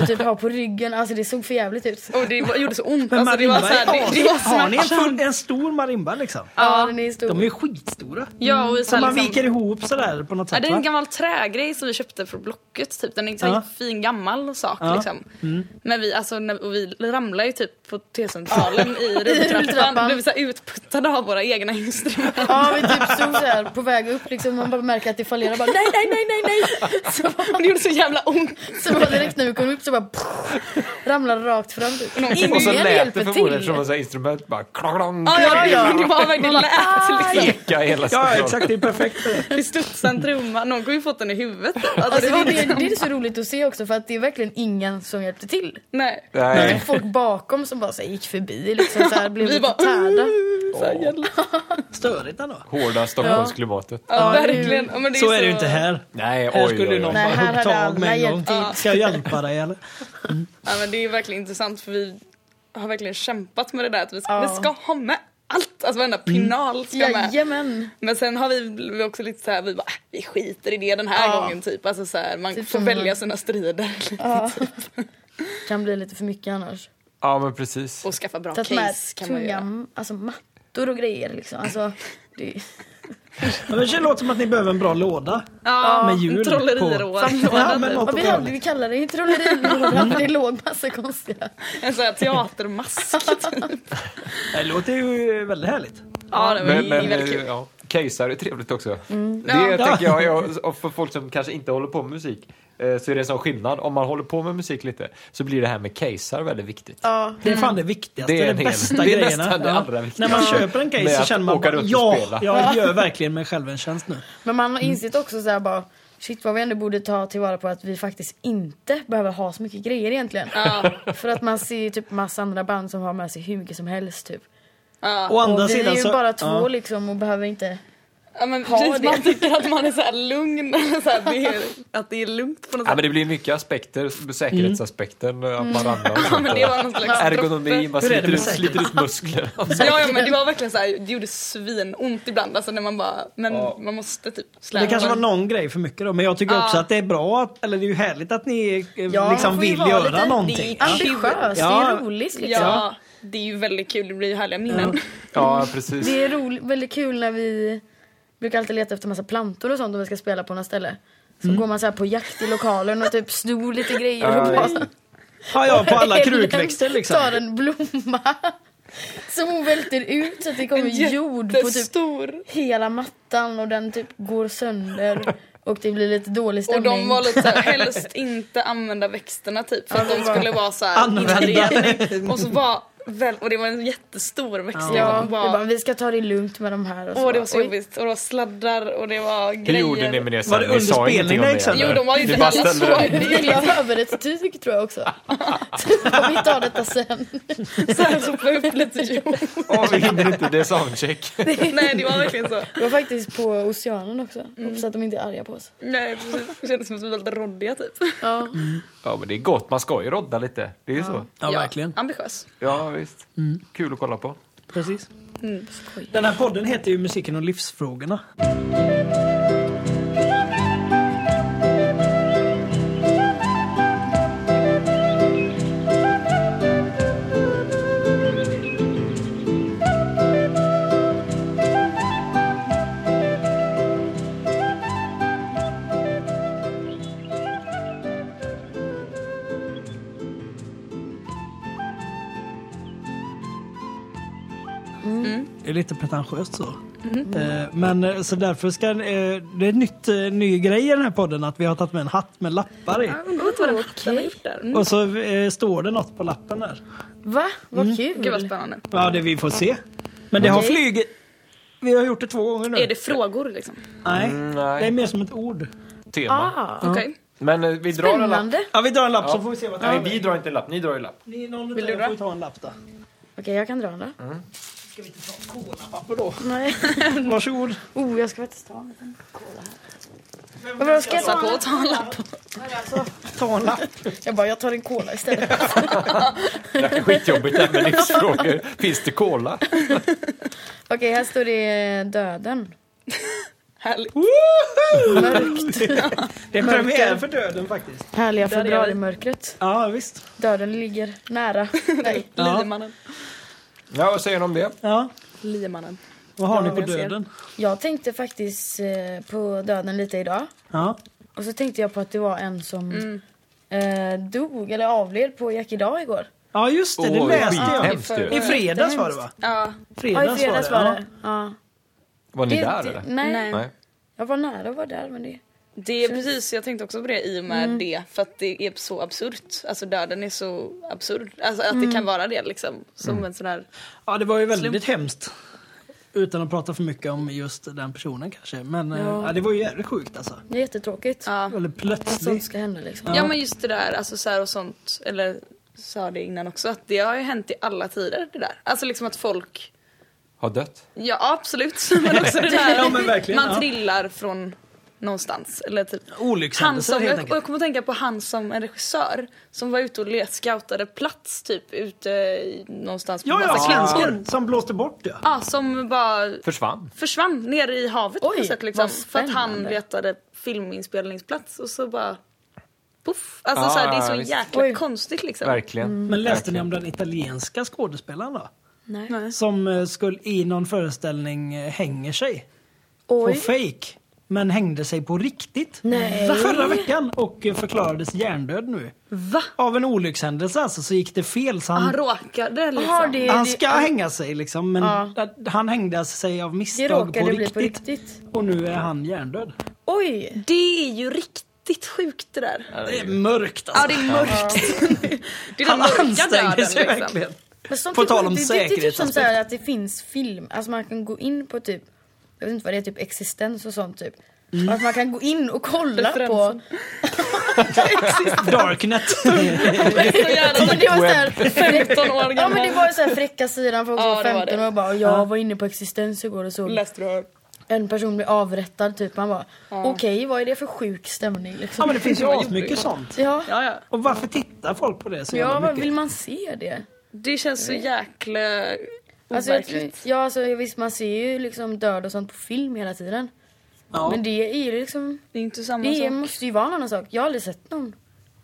D: och typ ha på ryggen. Alltså det såg för jävligt ut.
C: och det var- gjorde så ont.
B: Men
C: Alltså, det var
B: marimba,
C: så här, det, det var
B: har, har ni en,
C: smärtsamt.
B: full, en stor marimba liksom?
D: Ja, den är stor.
B: De är ju skitstora.
C: Ja, och vi så
B: Så
C: här,
B: man
C: liksom,
B: viker ihop sådär på något
C: Ja,
B: sätt
C: det är en
B: va?
C: gammal trägrej som vi köpte från Blocket. Typ. Den är en sån
B: Ja.
C: fin gammal sak.
B: Ja. Mm.
C: Liksom. Men vi, alltså, när, och vi ramlade ju typ på T-centralen i rulltrappan.
D: rulltrappan.
C: Blev så här utputtade av våra egna instrument.
D: Ja, vi typ stod så här på väg upp liksom. Man bara märker att det fallerar. Bara, nej, nej, nej, nej, nej. Så,
C: Och det gjorde så jävla ont.
D: så bara direkt när vi kom upp så bara ramlar rakt fram. Typ. Ingen
A: Och så lät det
D: hjälper
A: förmodligen
D: till.
A: som att säga instrument bara klong, klong,
C: Ja, ja,
D: ja.
C: Det var verkligen lät liksom.
A: eka i hela
B: "Ah, Ja,
A: centralen.
B: exakt. Det är perfekt för det.
C: Det studsade en trumma. Någon kunde ju fått den i huvudet. Alltså,
D: Alltså,
C: det
D: det,
C: var
D: det,
C: liksom,
D: det är så roligt att se också för att det är verkligen ingen som hjälpte till.
C: nej.
D: Det är
A: Nej.
D: folk bakom som bara så här, gick förbi liksom så här, blev
C: Vi
D: lite
C: bara,
D: tärda.
C: Så här, jävla-
B: Stör störigt ändå.
A: Hårda Stockholmsklimatet.
C: Ja,
B: Ja, det är ju-
C: verkligen. Ja, men
B: Så är det ju inte här.
A: Nej,
B: Här
A: oj,
B: skulle
A: oj,
B: någon
A: oj.
D: Nej,
B: bara
D: här
B: hugga
D: hade
B: tag
D: alla
B: med en gång.
D: hjälpt till.
B: Ska jag hjälpa dig eller?
C: Ja, men det är verkligen intressant för vi har verkligen kämpat med det där att vi,
D: Ja. Mm.
C: vi ska ha med allt. Alltså varenda pinal ska med.
D: Jajamän.
C: Men sen har vi vi också lite så här, vi bara, äh, vi skiter i det den här
D: Ja.
C: gången typ. Alltså så här, man
D: Typ
C: får
D: som-
C: välja sina strider typ,
D: Ja. kan bli lite för mycket annars.
A: Ja, men precis.
C: och skaffa bra
D: Tagit med
C: case kan man ju göra.
D: tunga alltså, mattor och grejer liksom. Alltså, det,
B: Ja, men Det låter som att ni behöver en bra låda.
C: Ja,
B: Med hjul
C: en
B: på.
C: trolleriråd.
B: Ja, men något
D: vad
B: åt
D: vi,
B: det
D: hade,
B: hållet.
D: vi kallade det ju trollerilådan för det låg massa konstiga.
C: typ. En sån här teatermask.
B: Det låter ju väldigt härligt.
C: ja, det var
A: Men,
C: men,
A: men
C: väldigt kul.
A: ja, casear är trevligt också. Det
C: Ja.
A: tänker jag, jag, och för folk som kanske inte håller på med musik, eh, så är det en sån skillnad. Om man håller på med musik lite, så blir det här med casear väldigt viktigt.
D: Ja.
B: Det är fan det viktigaste,
A: Det är
B: det,
A: en hel-
B: bästa
A: det är
B: grejerna.
A: nästan det
B: Ja.
A: allra
B: När
A: viktigaste.
B: man köper en
A: Med
B: case så
A: att
B: känner man
A: åka
B: bara,
A: runt och
B: ja,
A: spela."
B: jag gör verkligen mig själv en tjänst nu.
D: Men man har insett också så här bara Shit vad vi ändå borde ta tillvara på att vi faktiskt inte behöver ha så mycket grejer egentligen.
C: Ja,
D: För att man ser ju typ massa andra band som har med sig hur mycket som helst typ.
C: ja.
B: Å andra
D: och vi
B: sidan
D: är ju
B: så...
D: bara två
B: ja.
D: liksom och behöver inte...
C: ja men
D: Ha
C: precis,
D: det.
C: man tycker att man är så här lugn. Så här, det är, att det är lugnt på något
A: Ja,
C: sätt.
A: men det blir mycket aspekter, säkerhetsaspekten, att man ramlar och
C: Mm. Ja,
A: sånt.
C: men det var någon slags
A: Ergonomi, man
B: Hur är det
A: sliter
B: med
A: ut, sliter ut muskler.
C: Ja, ja men det var verkligen så här, det gjorde svinont ibland. Alltså när man bara, men
A: Ja.
C: man måste typ släpa
B: Det kanske var
C: den.
B: någon grej för mycket då, men jag tycker
C: Ja.
B: också att det är bra, att, eller det är ju härligt att ni eh,
D: Ja,
B: liksom
D: man får ju
B: vill
D: vara
B: göra
D: lite-
B: någonting.
C: det är-
D: Ambitiöst, det
B: Ja.
D: är roligt liksom.
C: Ja, det är ju väldigt kul, det blir ju härliga minnen.
A: Ja, precis.
D: Det är roligt, väldigt kul när vi brukar alltid leta efter massa plantor och sånt om vi ska spela på något ställe. Så
B: Mm.
D: går man så här på jakt i lokalen och typ snor lite grejer och bara...
B: Ja, ja, på alla krukväxter liksom.
D: Tar en blomma som hon välter ut så att det kommer jord på typ
C: Jättestor.
D: hela mattan och den typ går sönder och det blir lite dålig
C: Och
D: stämning.
C: de var lite såhär, helst inte använda växterna typ för att de skulle vara såhär
B: Använda.
C: inredning. Och så var väl, och det var en jättestor växt.
D: Ja,
C: Ja.
D: vi bara,
C: Bara,
D: vi ska ta det lugnt med de här och så.
C: åh det var så
D: Oj.
C: jobbigt. Och det var sladdar och det var
A: Hur
C: grejer.
A: gjorde ni med det sen?
B: Var det
A: Ni sa
B: under
A: ingenting om
B: spelningen,
A: det? eller?
C: Jo de var ju
A: Ni
C: inte
A: bara
C: alla så.
A: ställde
C: Det
A: den.
C: är
D: Vi
C: liksom
D: la över ett tyg tror jag också. Typ, vi tar detta sen.
C: såhär sopa upp lite jord.
A: Åh, vi hinner inte, det är soundcheck.
C: Nej det var verkligen så.
D: Det var faktiskt på oceanen också. Hoppas att de inte är arga på oss.
C: Nej precis. Det kändes som att vi var lite råddiga typ.
D: Ja.
A: Ja, men det är gott, man ska ju rodda lite. Det är ju så.
B: Ja, Mm. verkligen.
C: Ambitiös.
A: Ja, visst. Kul att kolla på.
B: Precis.
C: Mm.
B: Den här podden heter ju Musiken och livsfrågorna. Det är lite pretentiöst så.
D: Mm.
B: Eh, Men eh, så därför ska eh, det är en nytt, eh, ny grej i den här podden att vi har tagit med en hatt med lappar
D: Mm.
B: i.
C: Undrar vad den hatten har gjort där. Mm.
B: Och så eh, står det något på lappen där.
D: Va? Vad kul.
C: Mm. Gud vad spännande.
B: Ja, det vi får se. Men det har
D: Okej.
B: flugit. Vi har gjort det två gånger nu.
C: Är det frågor liksom?
B: Nej.
A: nej.
B: det är mer som ett ord.
A: Tema.
D: ah,
C: Okej.
A: Men eh, vi drar en lapp.
D: spännande.
B: Ja, vi drar en lapp
A: Ja.
B: så får vi se vad det
A: Nej,
B: är.
A: vi drar inte en lapp, ni drar en lapp.
B: Ni, någon
C: Vill
B: Vill
C: du
B: du
C: dra?
B: får ju ta en lapp då.
D: Okej, jag kan dra den då.
C: Mm.
B: Ska vi inte ta kolapapper då?
D: Nej.
B: Varsågod.
D: Oh, jag ska faktiskt ta en liten Alltså, cola här. Vadå, ska jag
C: Passa
D: ta
C: på
D: en
C: att ta en lapp.
B: Ta en lapp.
D: Jag bara, jag tar en cola istället.
A: Det här är skitjobbigt det här med livsfrågor. Finns det cola?
D: Okej, här står det eh, döden.
C: Härligt.
D: Mörkt.
B: Det är premiär för döden faktiskt.
D: Härliga
C: Där är jag.
D: februarimörkret.
B: Ja, visst.
D: Döden ligger nära. Nej.
B: Ja.
C: Liemannen.
A: Ja, vad säger ni om det?
B: Ja.
C: Liemannen.
B: Vad har
C: Ja,
B: ni på
C: jag ser.
B: döden?
D: Jag tänkte faktiskt eh, på döden lite idag.
B: Ja.
D: Och så tänkte jag på att det var en som eh, dog eller avled på Jack idag igår.
B: ja, just det. Det
A: Åh,
B: läste jag.
A: skithemskt ju.
B: I fredags var det va?
C: Ja.
D: Ja, i fredags var det. Ja.
A: Var ni
D: Det-
A: där
D: det-
A: eller?
D: Nej.
A: Nej.
D: jag var nära att vara där men det...
C: Det är precis, jag tänkte också på det i och med det. För att det är så absurt. Alltså döden är så absurd. Alltså att det kan vara det liksom. Som en sån här...
B: Ja. ja, det var ju väldigt hemskt. Utan att prata för mycket om just den personen kanske. Men eh, ja. det var ju jävligt sjukt alltså.
D: Det är jättetråkigt.
C: Ja.
B: Väldigt
D: Sånt
B: plötsligt.
D: ska hända liksom.
C: Ja. men just det där, alltså så här och sånt. Eller sa det innan också. Att det har ju hänt i alla tider det där. Alltså liksom att folk
A: har dött.
C: Ja absolut. Men också det där
B: Ja, men verkligen,
C: man
B: ja.
C: trillar från någonstans. Eller typ. Han
B: Olyckshändelser
C: som,
B: helt
C: jag,
B: enkelt.
C: jag kommer att tänka på han som en regissör som var ute och let- scoutade plats typ ute i- någonstans på
B: Ja, ja,
C: massa klänskor.
B: svensken som blåste bort det.
C: Ja, som bara
A: Försvann.
C: försvann ner i havet på
D: Oj,
C: något sätt liksom.
D: vad
C: För att han
D: spännande.
C: letade filminspelningsplats och så bara poff. Alltså
A: Ja,
C: så här, det är
A: ja,
B: Ah,
C: så
A: visst.
C: jäkla
D: Oj.
C: konstigt liksom.
A: Verkligen.
B: Mm. Men läste ni om
A: Verkligen.
B: den italienska skådespelaren då?
D: Nej.
C: Nej.
B: Som eh, skulle i någon föreställning eh, hänger sig. På
D: Oj.
B: fake. Men hängde sig på riktigt.
D: Nej.
B: Förra veckan och eh, förklarades hjärndöd nu.
C: Va?
B: Av en olyckshändelse alltså så gick det fel så
C: Han
B: han,
C: råkade liksom.
D: Jaha, Ah, det,
B: han
D: det-
B: ska hänga sig liksom men
D: Ja.
B: han hängde sig av
D: det
B: misstag på
D: råkade bli
B: riktigt,
D: på riktigt.
B: Och nu är han hjärndöd.
D: Oj!
C: Det är ju riktigt sjukt det där.
B: Det är mörkt
C: Ja
B: alltså.
C: det är mörkt. det är den
B: han
C: mörka
B: ansträngde
C: döden
B: sig
C: liksom.
B: verkligen.
D: Men sånt
B: På
D: är
B: tal
D: sjukt.
B: om
D: det, Det är typ som
B: säkerhetsaspekt.
D: så här att det finns film, alltså man kan gå in på typ, jag vet inte vad det är, typ existens och sånt typ. Att man kan gå in och kolla på.
C: Referensen.
B: Darknet.
C: Så jävla
D: Ja, men det var så här,
C: 15 år
D: ja men det
C: gammal.
D: var ju så här fräcka sidan folk
C: Ja,
D: som var
C: det
D: 15
C: var det.
D: och bara jag var inne på existens igår och såg
C: Läste du av?
D: en person bli avrättad typ. Man bara okej vad är det för sjuk stämning liksom.
B: ja men det finns ju
C: Det var
B: asmycket
C: jobbigt.
B: sånt.
D: Ja,
C: Ja, ja.
B: Och varför tittar folk på det så
D: ja
B: jävla
D: vad
B: mycket?
D: vill man se det?
C: Det känns så jäkla
D: Alltså, jag,
C: overkligt.
D: ja alltså visst man ser ju liksom död och sånt på film hela tiden.
B: Ja.
D: Men det är ju liksom
C: Det är inte samma
D: Det
C: sak.
D: måste ju vara en annan sak. Jag har aldrig sett någon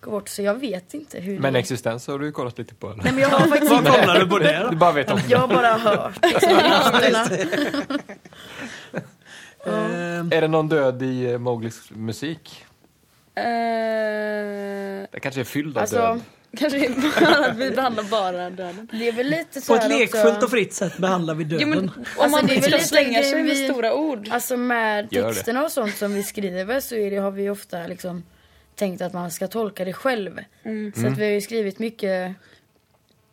D: gå bort så jag vet inte hur
A: Men
D: det är.
A: existens har du ju kollat lite på. Eller?
D: Nej men jag har faktiskt
B: Vad kollar du på det
A: Du
B: då?
A: bara vet om
D: Jag har bara hört liksom, ryktena.
B: Eh,
A: Är det någon död i eh, Mowglis musik?
C: Eh,
A: Det kanske är fylld av
D: Alltså,
A: död.
C: kanske inte bara att vi behandlar bara döden.
D: det är väl lite så
B: På ett
D: här
B: lekfullt
D: också,
B: och fritt sätt behandlar vi
C: Jo,
B: döden.
C: men om
D: Alltså, det är
C: man
D: väl
C: ska
D: lite
C: slänga sig
D: grejen
C: med
D: vi-
C: stora ord.
D: Alltså med
A: Gör det.
D: texterna och sånt som vi skriver så är det, har vi ju ofta liksom tänkt att man ska tolka det själv.
C: Mm.
D: Så
A: Mm.
D: att vi har ju skrivit mycket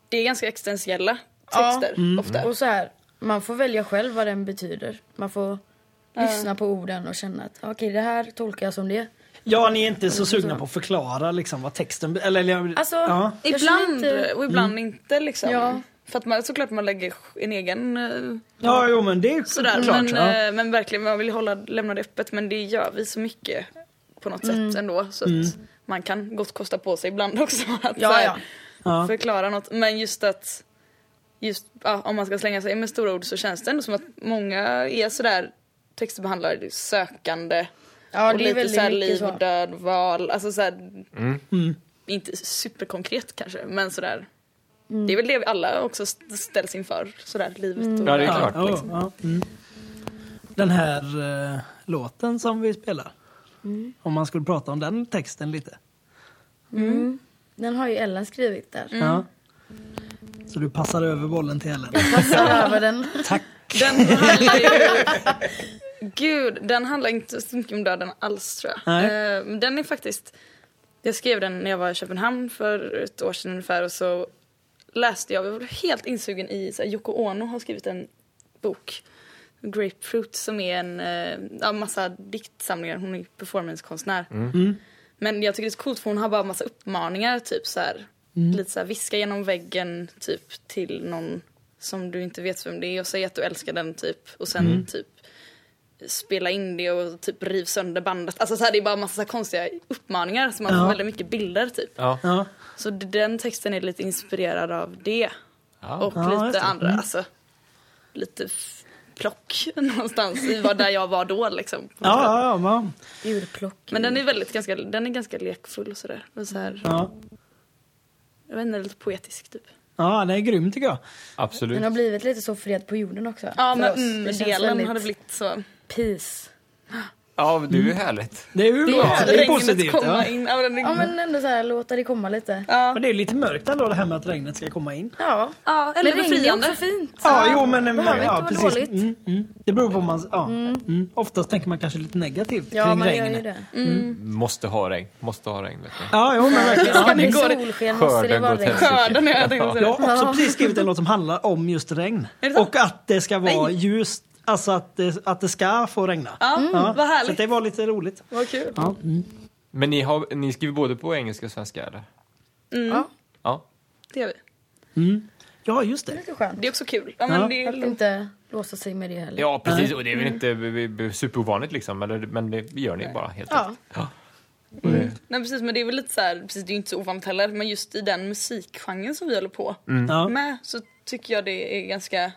C: Det är ganska existentiella
D: Ja.
C: texter ofta.
D: och så här, man får välja själv vad den betyder. Man får lyssna på orden och känna att okej det här tolkar jag som det.
B: Ja, ni är inte så sugna på att förklara liksom, vad texten... Eller, eller,
D: Alltså,
B: ja.
D: jag
C: Ibland
D: känner inte-
C: och ibland inte liksom.
D: Ja.
C: För att man, såklart man lägger en egen eh,
B: ja, jo men det är
D: Mm.
C: sådär.
B: klart.
C: men,
B: ja.
C: eh, men verkligen, man vill hålla, lämna det öppet men det gör vi så mycket på något
D: Mm.
C: sätt ändå. Så att man kan gott kosta på sig ibland också att
D: Ja,
C: så här,
D: ja.
B: Ja.
C: förklara något. Men just att just, ja, om man ska slänga sig med stora ord så känns det ändå som att många är sådär textbehandlare, det är sökande
D: Ja,
C: och
D: det är
C: lite såhär
D: väldigt
C: liv
D: mycket så. Mm.
C: och död, val. Alltså såhär,
A: Mm.
C: inte superkonkret kanske men sådär.
D: Mm.
C: Det är väl det vi alla också st- ställs inför, sådär livet och
A: Ja, det är
B: Ja,
A: klart.
B: ja,
A: liksom.
B: ja, mm. Den här eh, låten som vi spelar. Om man skulle prata om den texten lite.
D: Den har ju Ellen skrivit där.
C: Mm.
B: Ja. Så du passar över bollen till Ellen.
D: Passar över den.
B: Tack.
C: Den handlar ju... Gud, den handlar inte så mycket om döden alls tror jag.
B: Nej.
C: Eh, men den är faktiskt... Jag skrev den när jag var i Köpenhamn för ett år sedan ungefär och så läste jag, jag var helt insugen i, så här, Yoko Ono har skrivit en bok, Grapefruit, som är en eh, ja, massa diktsamlingar, hon är performancekonstnär. Men jag tycker det är så coolt för hon har bara massa uppmaningar typ så här. Lite så här, viska genom väggen typ till någon som du inte vet vem det är och säg att du älskar den typ. Och sen typ spela in det och typ riv sönder bandet. Alltså så här, det är bara massa så här konstiga uppmaningar så man
B: Ja.
C: får väldigt mycket bilder typ.
A: Ja.
B: Ja.
C: Så d- den texten är lite inspirerad av det.
A: Ja.
C: Och
B: Ja, just
C: lite
B: det. Mm.
C: andra, alltså lite f- plock någonstans i vad där jag var då liksom.
B: Ja, ja, ja,
D: Djurplock.
C: Men den är väldigt ganska, den är ganska lekfull och sådär. Och så här,
B: ja.
C: jag vet inte, lite poetisk typ.
B: ja, den är grym tycker jag.
A: Absolut.
D: Den har blivit lite så fred på jorden också.
C: Ja
D: för
C: men
D: oss.
C: mm,
D: känns
C: delen
D: väldigt
C: har det blivit så.
D: Peace.
A: Ja, det är ju härligt.
B: Det är ju bra.
D: är-
B: Det är
C: Regnet
B: positivt.
C: komma
B: Ja.
C: in. Ja, men det-
D: Ja men ändå så här, låta det komma lite.
B: Men
C: ja.
B: det är lite mörkt ändå det här med att regnet ska komma in.
D: Ja.
C: ja eller
D: Men regn är
C: befriande.
D: också fint.
B: Ja, jo men...
D: behöver
B: ja,
D: inte vara dåligt.
B: Mm, mm. Det beror på om man... Ja. Mm. Oftast tänker man kanske lite negativt
D: Ja
B: kring
D: man gör
B: regnet.
D: ju det.
A: Måste ha regn. Måste ha regn. Vet du.
B: Ja, jo men verkligen.
D: Ska
B: Ja,
D: det
B: det-
D: bli
C: går-
D: solsken måste det
A: Skörden
D: vara
A: går
D: regn.
A: till-
C: Skörden är jag tänkte
B: Jag
C: säga.
B: har också precis skrivit en låt som handlar om just regn.
C: Är det sant?
B: Och att det ska vara ljust. Alltså att det, att det ska få regna.
C: Ja, vad
B: Så att
C: härligt.
B: det var lite roligt.
C: Vad kul.
B: Ja. Mm.
A: Men ni, har, ni skriver både på engelska och svenska, eller?
C: Mm,
D: Ja.
A: Ja.
C: Det gör vi.
B: Ja, just det.
D: Lite skönt.
C: Det är också kul. Ja,
B: Ja.
C: men det
D: Att
C: är,
D: inte låsa sig med det heller.
A: Ja, precis. Och det är väl inte b- b- superovanligt liksom. Eller, men det gör ni bara helt
D: Ja.
A: enkelt. Ja.
C: Nej precis men det är väl lite så här, precis det är ju inte så ovanligt heller men just i den musikgenren som vi håller på
B: Mm. Ja.
C: med så tycker jag det är ganska,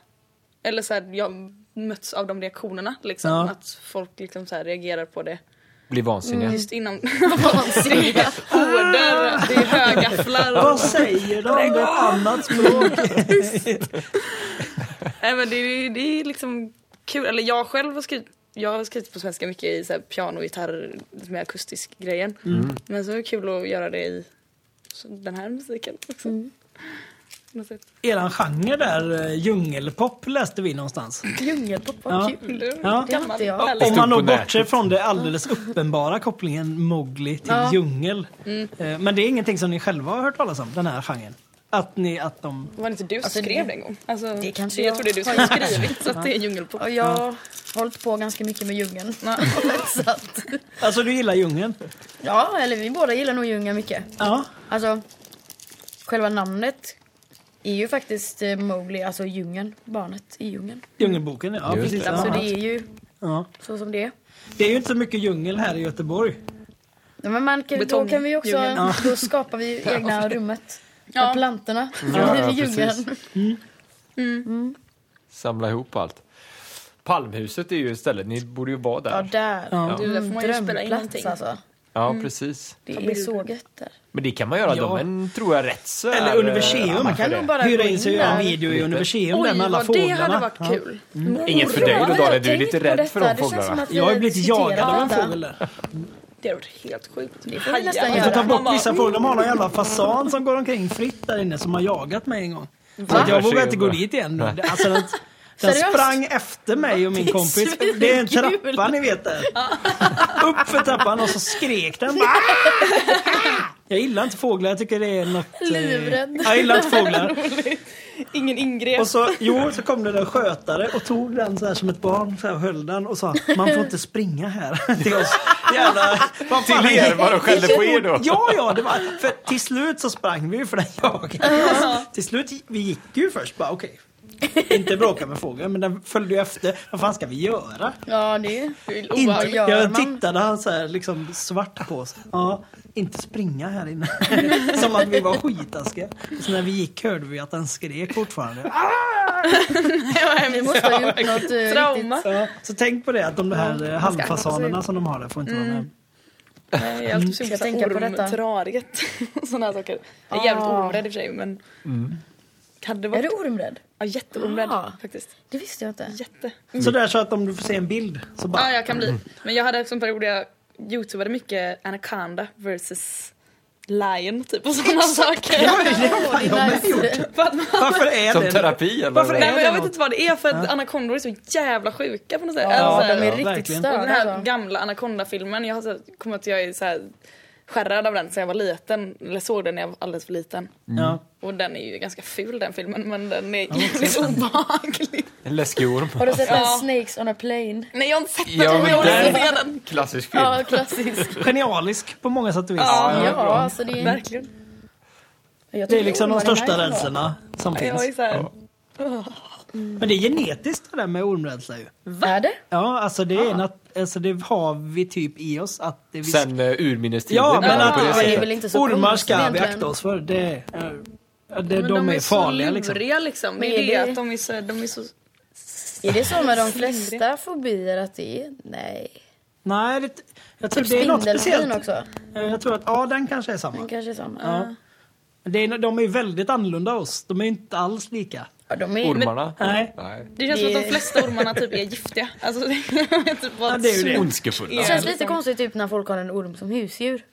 C: eller så här, jag möts av de reaktionerna liksom.
B: Ja.
C: Att folk liksom så här reagerar på det.
A: Blir vansinniga.
C: Just inom horder, det är högafflar.
B: Vad säger de? Det är ett annat språk.
C: Nej men det är, det är liksom kul, eller jag själv har skrivit jag har skrivit på svenska mycket i så här piano, gitarr, lite mer akustisk grejen.
B: Mm.
C: Men så är det kul att göra det i så den här musiken också. På något sätt.
B: Eran genre där, eh, djungelpop läste vi någonstans.
D: Djungelpop, vad
B: Ja.
D: kul.
B: Ja.
D: Det har inte jag.
C: Gammal.
B: Om
A: upp
B: man då
A: på nätet.
B: bortser från det alldeles uppenbara kopplingen Mowgli till
D: Ja.
B: djungel. Eh, Men det är ingenting som ni själva har hört talas om, den här genren? Att ni, att de...
C: Var det inte du som
D: Alltså,
C: skrev
D: det-
C: det en gång? Alltså,
D: det kanske
C: jag
D: jag
C: tror det är du som har skrivit så att det är djungelpop.
D: Ja, jag har hållit på ganska mycket med djungeln. så att,
B: Alltså du gillar djungeln?
D: ja, eller vi båda gillar nog djungeln mycket.
B: Ja.
D: Alltså, själva namnet är ju faktiskt eh, Mowgli, alltså djungeln. Barnet i djungeln.
B: Djungelboken, ja.
A: Just
B: precis.
A: det.
D: Så
B: Ja.
D: det är ju
B: Ja.
D: så som det är.
B: det är ju inte så mycket djungel här i Göteborg.
D: Ja, Men man kan, då
C: Betong-
D: kan vi också,
C: djungeln.
D: då skapar vi ju egna rummet.
C: Ja.
D: Med plantorna.
A: Ja,
D: i
A: ja,
D: djungeln.
A: precis. Samla ihop allt. Palmhuset är ju stället, ni borde ju vara
D: Ja,
A: där.
D: där.
B: Ja.
C: Du, där får man ju spela in någonting.
D: Drömplats alltså.
A: Ja, precis.
D: Det är så gött där.
A: Men det kan man göra,
B: Ja.
A: de en, tror jag rätt så
B: Eller
A: är, eh,
B: Universium.
A: annan
B: Man
A: för det.
D: bara
B: Hyra in sig och göra en video i
A: Lite.
B: universium där
C: Oj,
B: med alla
C: vad det hade
B: fåglarna.
C: varit
B: Ja.
C: kul.
D: Mm.
A: Inget för dig då Daniel, du är lite rädd för de
D: Det känns som
A: fåglarna.
D: att vi
B: Jag har ju blivit
D: diskuterar
B: jagad av en
D: detta.
B: fågel där.
C: Det hade varit helt sjukt. Det
D: får vi nästan
B: Jag
D: göra.
B: får ta
C: Man
B: bort
C: bara, "Mm."
B: vissa fåglar. De har någon jävla fasan som går omkring fritt där inne som har jagat mig en gång. Så att jag
A: Varsågod.
B: vågar inte gå dit igen nu. Alltså, den, den
D: Seriöst?
B: sprang efter mig och min kompis. Det är en
D: svinkul.
B: trappa ni vet där. Upp för trappan och så skrek den. Bara, jag gillar inte fåglar. Jag tycker det är något... eh,
D: Livrädd.
B: Jag gillar inte fåglar.
C: Ingen ingrep.
B: Och så, jo, så kom det en skötare och tog den så här som ett barn så här, och höll den och sa man får inte springa här till oss. Jävla, vad fan
A: Till er, vad de skällde på er då?
B: Ja, ja, det var, för till slut så sprang vi ju för den jagade oss. Till slut, vi gick ju först bara okej. Inte bråka med fågeln, men den följde ju efter. Vad fan ska vi göra?
D: Ja, det är ju...
B: Inte,
D: gör
B: jag
D: man?
B: tittade han så här liksom svart på oss. Ja, inte springa här inne. Som att vi var skitaskiga. Så när vi gick hörde vi att den skrek fortfarande.
D: Vi måste ha gjort något eh, Mm, riktigt.
C: Trauma.
B: Ja, så tänk på det att de här eh, halvfasanerna som de har där får inte vara med.
C: Nej, Jag har alltid
D: Ska
C: sugen på
D: tänka Mm. på detta.
C: ormterrariet. Sådana här saker. Jag är jävligt
D: Ah.
C: ormrädd i och för sig men.
B: Mm.
C: Hade det
D: Är
C: varit.
D: du ormrädd?
C: Ja, jätteormrädd
D: Ah.
C: faktiskt.
D: Det visste jag inte.
C: Jätte.
B: Så där så att om du får se en bild så bara... Mm.
C: Ja, jag kan bli. Men jag hade också en period där jag youtubade mycket Anaconda versus Lion typ och sådana saker.
D: Åh, det är nice.
C: För att man
B: Varför är
A: Som
B: det?
A: terapi eller?
B: Varför är-
C: Nej men jag
B: det
C: vet inte vad det är för att anakondor är så jävla sjuka på något sätt.
B: Ja,
C: Alltså,
D: De är
B: Ja,
D: riktigt
B: verkligen.
D: störda.
C: och den här
D: alltså.
C: gamla anakondafilmen, jag har så- kommer att jag är så här skärrad av den sen jag var liten. Eller såg den när jag var alldeles för liten.
B: Ja.
C: Och den är ju ganska ful den filmen men den är jävligt obehaglig.
A: En läskig orm.
D: Har du sett
C: Ja.
D: den Snakes on a plane?
C: Nej jag har inte sett den,
A: Ja,
C: men jag
A: men
C: vill
A: den-
C: se den.
A: Klassisk film.
D: Ja, klassisk.
B: Genialisk på många sätt och vis.
C: Ja.
D: Ja,
A: bra.
D: alltså det
B: Mm.
D: är...
C: Verkligen.
D: Jag
B: Det
D: tycker
B: är liksom de
D: ormar är
B: största
D: nice ändå.
B: rädslorna som
C: Jag är
B: finns.
C: så här,
B: Men det är genetiskt det där med ormrädsla ju.
D: Är det?
B: Ja, alltså det, är nat- alltså det har vi typ i oss att... Det vi-
A: Sen eh, urminnes tider.
B: ja, men
A: bara
B: att
A: på det
D: det är
A: sättet.
D: väl inte så
B: ormar
D: konstigt
B: ska vi
D: egentligen.
B: akta oss för. Det, är- ja, det, de,
C: men
B: är, farliga
C: så
B: liksom.
C: luriga liksom. Det är
D: Men är
C: det
D: det-
C: att de är så... De är så
D: Är det så med de flesta fobier att det är? Nej.
B: Nej, det, jag tror
D: Typ
B: det är något
D: spindelfin
B: speciellt.
D: också.
B: Eh, Jag tror att, ja den kanske är samma.
D: Den kanske är samma.
B: Ja. Det är, de är ju väldigt annorlunda oss. De är ju inte alls lika.
D: Ja, de är...
A: Ormarna?
B: Nej.
A: Nej.
C: det känns som att
D: Det-
C: de flesta ormarna typ är giftiga. Alltså det är typ bara
B: Ja, det är ju det.
A: Ondskefulla.
D: Det känns lite konstigt typ när folk har en orm som husdjur.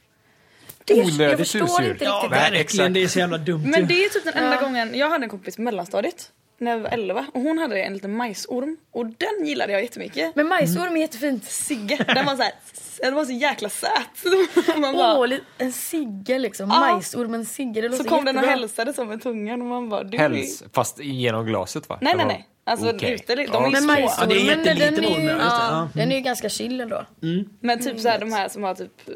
D: jag
A: Onödigt
D: förstår
A: husdjur.
D: inte
B: Ja,
D: riktigt.
A: Nej,
B: verkligen.
A: exakt.
B: Det är så jävla dumt
C: Men
B: ju.
C: det är typ den enda gången, jag hade en kompis på mellanstadiet när jag var 11 och hon hade en liten majsorm och den gillade jag jättemycket.
D: Men majsorm är jättefint.
C: Sigge, den var så här, den var så jäkla söt. Man bara,
D: Åh, li- en sigge liksom.
C: Ja.
D: Majsormen sigge, det låter
C: så kom den och
D: jättebra.
C: hälsade så med tungan och man bara du är-
A: Päls, fast genom glaset va?
C: Nej
A: Det
C: nej
A: var-
C: nej. Alltså
A: Okej.
C: ute, de är
A: Ja,
C: ju
D: Men
C: små.
B: Ja, det är
D: majsormen, den
B: jätteliten
D: är
B: orm, ja,
D: ju
B: just det. Ja.
D: ja, den är ju ganska chill ändå.
C: Men typ så här, de här som har typ eh,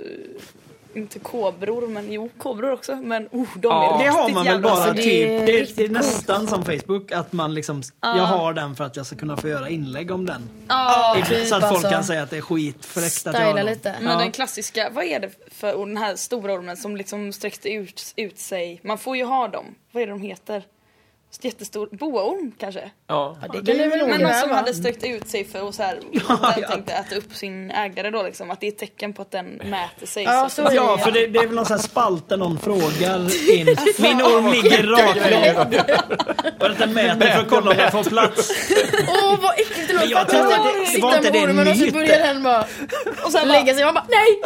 C: inte kobror, men jo kobror också. Men oh, de
A: Ja.
C: är
B: Det har
C: riktigt
B: man väl
C: jävla
B: bara
D: alltså,
C: snygga.
D: det är
B: typ, det är,
D: riktigt
B: det är
D: coolt.
B: nästan som Facebook att man liksom, jag har den för att jag ska kunna få göra inlägg om den.
C: Ja,
D: typ
B: så att folk
D: alltså.
B: kan säga att det är skitfräckt att jag har
D: Styla
B: den.
D: lite.
C: Men den klassiska, vad är det för ord, den här stora ormen som liksom sträckte ut, ut sig? Man får ju ha dem. Vad är det de heter? Jättestor, boaorm kanske?
A: Ja.
D: Ja, det kan du väl
C: Men någon som
D: ångra va?
C: hade sträckt ut sig för att så här, den tänkte äta upp sin ägare då liksom. Att det är ett tecken på att den mäter sig.
D: Ja, så är det.
B: Ja, för det, det är väl någon sån här spalt där någon frågar in. Min orm ligger raklång. Och att den mäter för att kolla om den får plats.
D: Åh vad äckligt det låter!
B: jag
D: Jag
B: tror
D: tänkte
B: att det- det var
D: sitta
B: inte
D: med
B: det
D: ormen och så
B: myt.
D: börjar den bara
C: Och sen bara,
D: lägga sig. Man bara nej!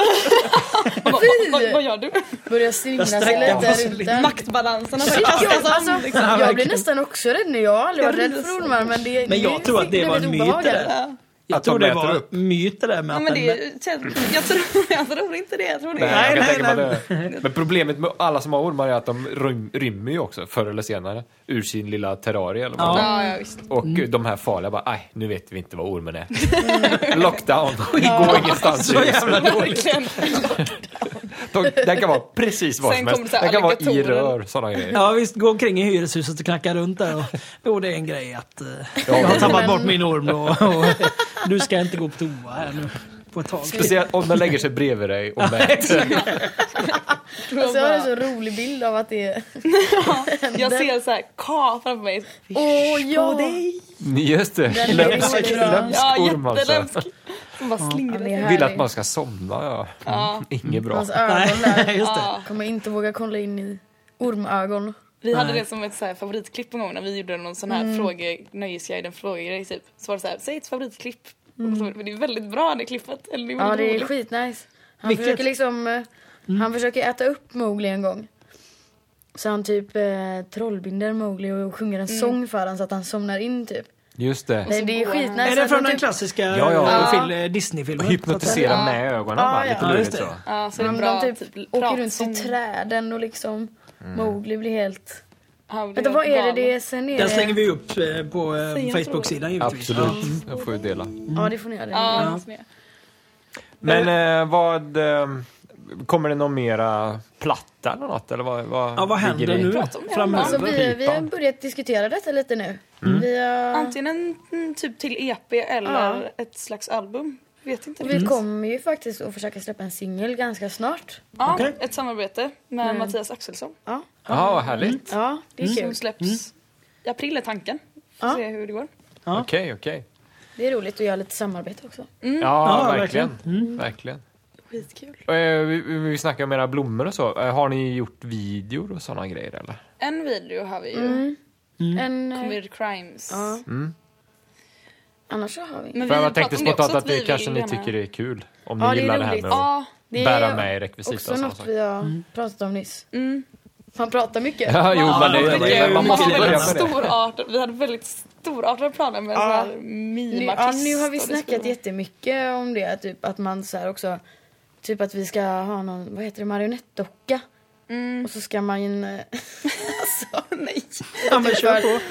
C: vad, vad, vad, vad gör du?
D: Börjar singla
B: Jag
D: sig
B: sträcker
D: lite
B: på sig
D: där
B: lite.
D: ute.
C: Maktbalanserna
D: Shit,
C: bara
D: jag-
C: kastas
D: alltså,
C: om. liksom.
D: Jag blir nästan också rädd nu. Jag har aldrig varit
C: blir
D: rädd för
C: nästan
D: ormar men det
B: Men jag tror att det var en
D: väldigt
B: myt det
D: obehagligt.
B: där. Jag
A: Att
B: tror
A: de
B: det
A: äter
B: var
A: upp.
B: myt det där med
C: Ja,
B: att
C: men
B: den
C: det, är- jag, tror, jag tror inte det. Jag tror det.
A: Nej,
B: Nej,
A: jag kan
B: nej,
A: tänka mig att det. Men problemet med alla som har ormar är att de rym, rymmer ju också förr eller senare ur sin lilla terrarie. Eller vad
B: Ja.
A: det är.
C: Ja, Mm. ja, visst.
A: Och de här farliga bara, aj, nu vet vi inte vad ormen är. Lockdown, det går ingenstans.
B: Så jävla dåligt.
C: Verkligen.
A: De, den kan vara precis var
C: Sen
A: som
C: kommer
A: helst.
C: så här
A: Den kan vara i
C: alligatorer.
A: rör, sådana grejer.
B: Ja visst, gå omkring i hyreshuset och knacka runt där. Och, jo det är en grej att eh,
A: Ja,
B: jag har
A: men-
B: tappat bort min orm då. Och, nu ska jag inte gå på toa här nu på ett tag.
A: Speciellt om den lägger sig bredvid dig och mäter.
D: Alltså, jag har en så rolig bild av att det är...
C: Jag ser så här K framför mig.
D: Åh ja!
A: Just det,
D: Den är
A: lömsk,
D: riktigt bra.
A: lömsk
C: Ja,
A: orm alltså.
C: jättelämsk. Som bara
D: Ja,
C: slingrar
D: det
C: sig.
D: är
A: Vill att
D: härligt.
A: man ska somna, ja. Mm.
C: Ja.
A: Inget bra.
D: Hans ögon där.
B: Nej, just det.
C: Ja.
D: Kommer inte våga kolla in i ormögon.
C: Vi hade det som ett så här favoritklipp en gång när vi gjorde någon sån här
D: Mm.
C: fråge, nöjesguiden frågegrej typ. Så var det så här, säg ett favoritklipp. Och så- Men det är väldigt bra det klippet. Eller det är
D: Mm. Ja
C: väldigt
D: det är
C: roligt.
D: skitnice. Han
B: Vilket-
D: försöker liksom... eh, Han försöker äta upp Mowgli en gång. Så han typ eh, trollbinder Mowgli och sjunger en sång för honom så att han somnar in typ.
A: Just det.
D: Nej, det är
C: går han.
D: skitnice.
B: Är det
D: att
B: från
D: han
B: den
D: typ-
B: klassiska
A: Ja, ja.
B: eh, fil-
C: Ja.
B: eh, Disney-filmen?
A: Hypnotisera med ögonen
D: Ja,
A: bara,
D: ja.
A: lite
B: Ja, just
A: lurigt så.
B: det.
C: Ja, så är det
D: Han
C: en bra
D: de typ, åker runt i träden och liksom
A: Mm.
D: Mowgli blir helt... Vänta vad är det det är sen är
B: Den
D: det...
B: slänger vi upp eh, på eh,
C: Säg en
B: Facebook-sidan givetvis.
A: Absolut, jag får ju dela.
D: Ja det får ni göra.
C: Ja,
B: Ja.
C: det finns med.
A: Men eh, vad... Eh, kommer det någon mera platta eller något? Eller vad, vad,
B: Ja, vad
A: ligger
B: händer
A: i-
B: nu
C: Prata om det.
B: framöver?
D: Alltså vi, vi har
A: Pipan.
D: börjat diskutera detta lite nu.
A: Mm.
D: Vi, har,
C: Antingen en mm, typ till EP eller ett slags album. Vet inte.
D: vi kommer ju faktiskt att försöka släppa en singel ganska snart.
C: Ja,
B: Okej.
C: ett samarbete med Mattias Axelsson.
D: Ja,
A: Ja, vad härligt.
D: ja det är
C: Som
A: Mm.
D: kul. Mm.
C: släpps i april är tanken. Får
D: Ja.
C: se hur det går.
B: Ja.
A: Okej, okej.
D: Det är roligt att göra lite samarbete också.
A: Ja,
B: Ja, Mm.
A: verkligen. verkligen.
C: Skitkul.
A: Eh, vi, vi snackar om era blommor och så. Eh, har ni gjort videor och sådana grejer eller?
C: En video har vi ju.
A: Mm.
D: En, eh,
C: Weird Crimes.
D: Mm. ja. Annars så har vi.
C: Men
A: För
C: vi
A: jag
C: pratade
A: tänkte
C: om det
A: spontant
C: också,
A: att det
C: vi
A: kanske
C: vill
A: ni
C: gärna-
A: tycker det är kul. Om
D: Ja,
A: ni
D: det är
A: gillar det här
D: roligt.
A: med att
C: Ja,
D: Det är
A: bära med i rekvisita
D: också
A: och sådana
D: något
A: saker.
D: vi har pratat om nyss.
C: Mm.
D: Man pratar mycket.
A: Ja, jo, men det,
B: det
A: det,
B: är ju
A: man måste
B: mycket
A: börja
C: väldigt
A: med det.
C: storartade, vi hade väldigt storartade planer med en sån här
D: Nu,
C: mimartist.
D: ja, nu har vi
C: och det
D: snackat
C: skulle-
D: jättemycket om det. Typ att man så här också... Typ att vi ska ha någon, vad heter det, marionettdocka.
C: Mm.
D: Och så ska man... eh, alltså, nej.
B: Ja, men kör på.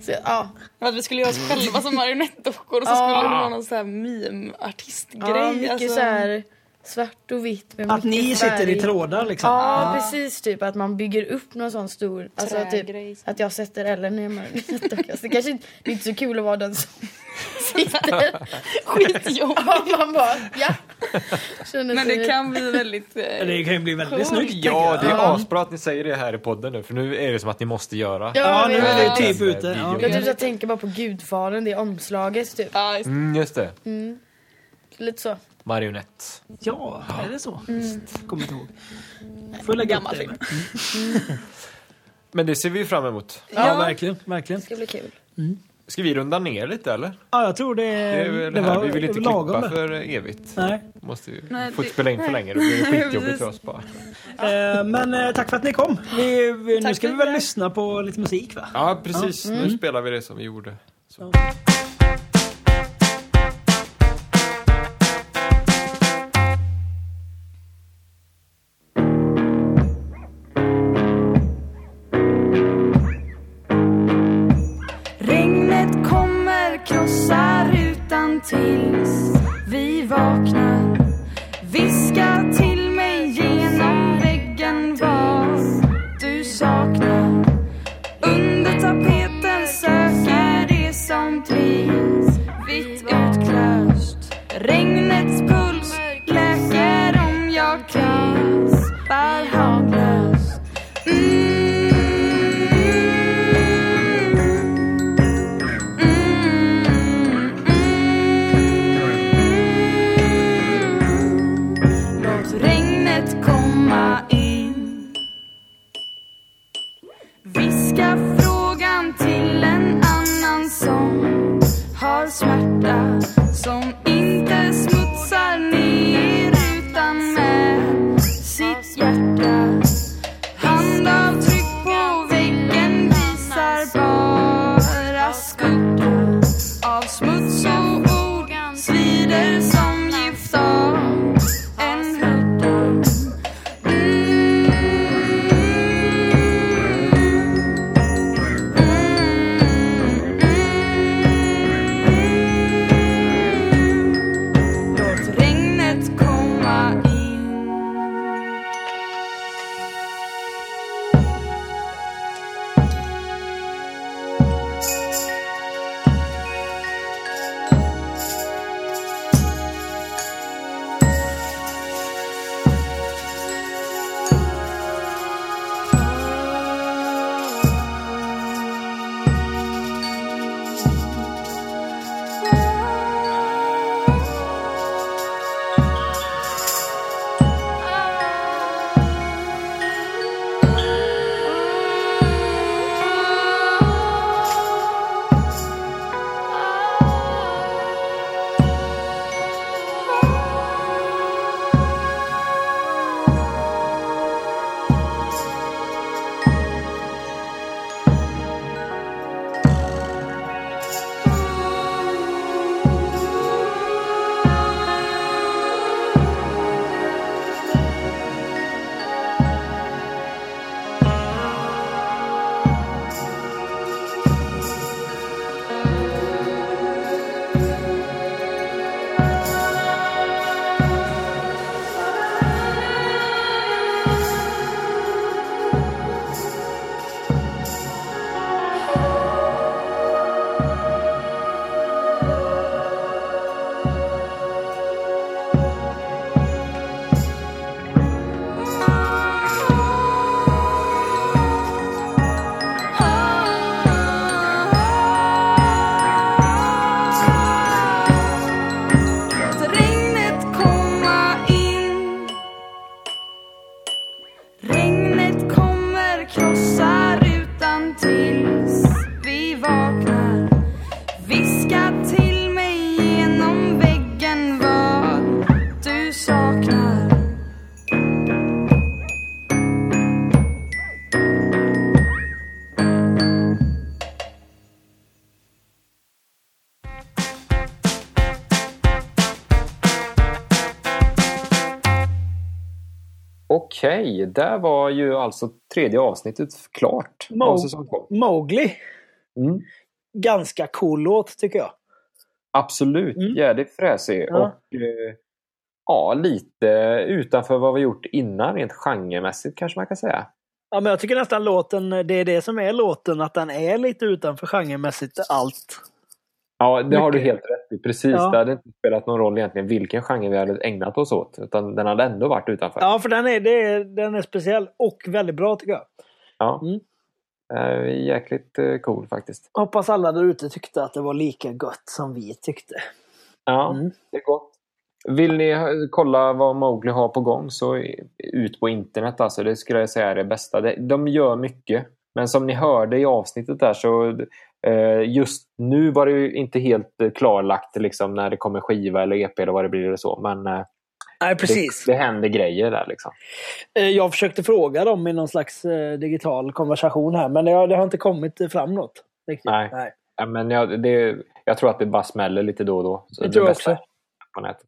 D: Så, ja.
C: Att vi skulle göra oss själva som marionettdockor och så
D: Ja.
C: skulle det vara någon sån här mimartistgrej.
D: ja, mycket
C: alltså.
D: så här svart och vitt. Med
B: Att
D: mycket
B: ni sitter i
D: färg.
B: trådar liksom.
D: Ja, precis. Typ att man bygger upp någon sån stor... Alltså
C: Trägrej.
D: typ att jag sätter Ellen i en marionettdocka. Så Det kanske inte, det är inte så kul att vara den som sitter.
C: Skitjobb.
D: Ja, man bara, ja. Känner
C: Men
D: sig-
C: det kan bli väldigt... eh,
B: Det kan ju bli väldigt snyggt.
A: Ja, det
B: tänker jag.
A: är asbra att ni säger det här i podden nu, för nu är det som att ni måste göra.
B: Ja,
D: Ja,
B: nu är
D: men-
B: vi typ
A: Den, eh,
B: ute.
A: videon.
D: Jag typ så här tänker bara på gudfadern, det är omslaget typ.
C: Ja, just-
A: Mm, just det.
D: Lite så.
A: Marionett.
B: Ja, är det så? Kommer inte ihåg. Får jag lägga upp
C: Gammal
B: det.
C: film.
A: Men det ser vi fram emot.
B: Ja, verkligen. verkligen.
D: Det ska bli kul.
A: Ska vi runda ner lite eller?
B: Ja, jag tror det,
A: Eh, Det är väl här. Vi vill inte
B: lagom.
A: klippa för evigt.
B: Nej.
A: Måste ju,
C: Nej,
A: får
C: det-
A: inte spela in för länge, då blir det skitjobbigt för oss bara.
B: Eh, men eh, tack för att ni kom. Vi, vi, nu
C: Tack
B: ska vi
C: för
B: väl
C: det.
B: lyssna på lite musik va?
A: Ja, mm. precis. Nu spelar vi det som vi gjorde. Så.
F: Regnet kommer, krossar rutan tills vi vaknar. Viska till mig genom
C: Dygnets puls läker om jag kraspar handlöst. Mm. mm. Låt regnet komma in Viska frågan till en annan som har smärta Som inte smutsar ner utan med sitt hjärta Handavtryck på väggen visar bara skugga av smuts och ord svider som gift av en Mm. hörta. Mm. Mm. Låt regnet komma in Låt regnet komma in Regnet kommer krossa rutan tills vi vaknar Viska till mig genom väggen vad du saknar
E: Okej, där var ju alltså tredje avsnittet klart.
B: Mo-
E: Av säsong två.
B: Mowgli.
E: Mm.
B: Ganska cool låt tycker jag.
E: Absolut,
B: Mm.
E: jädrigt fräsig.
B: Ja.
E: Och, eh, ja, lite utanför vad vi gjort innan, rent genremässigt kanske man kan säga.
B: Ja, men jag tycker nästan låten, det är det som är låten, att den är lite utanför genremässigt allt.
E: Ja, det har du
B: Mycket.
E: helt rätt i. Precis,
B: Ja.
E: det hade inte spelat någon roll egentligen vilken genre vi hade ägnat oss åt. Utan den hade ändå varit utanför.
B: Ja, för den är, det är, den är speciell och väldigt bra tycker jag.
E: Ja.
B: Mm.
E: Eh, Jäkligt eh, cool faktiskt.
B: Hoppas alla där ute tyckte att det var lika gött som vi tyckte.
E: Ja,
B: Mm.
E: det är gott. Vill ni eh, kolla vad Mowgli har på gång så eh, ut på internet alltså. Det skulle jag säga är det bästa. Det- De gör mycket. Men som ni hörde i avsnittet där så eh, just nu var det ju inte helt eh, klarlagt liksom när det kommer skiva eller EP eller vad det blir eller så. Men eh,
B: Nej,
E: det, det händer grejer där liksom.
B: Eh, Jag försökte fråga dem i någon slags eh, digital konversation här, men det har, det har inte kommit eh, fram något. Riktigt.
E: Nej.
B: Nej.
E: Ja, men jag, det, jag tror att det bara smäller lite då och då. Så
B: Det tror jag
E: bästa
B: också.
E: är På nätet.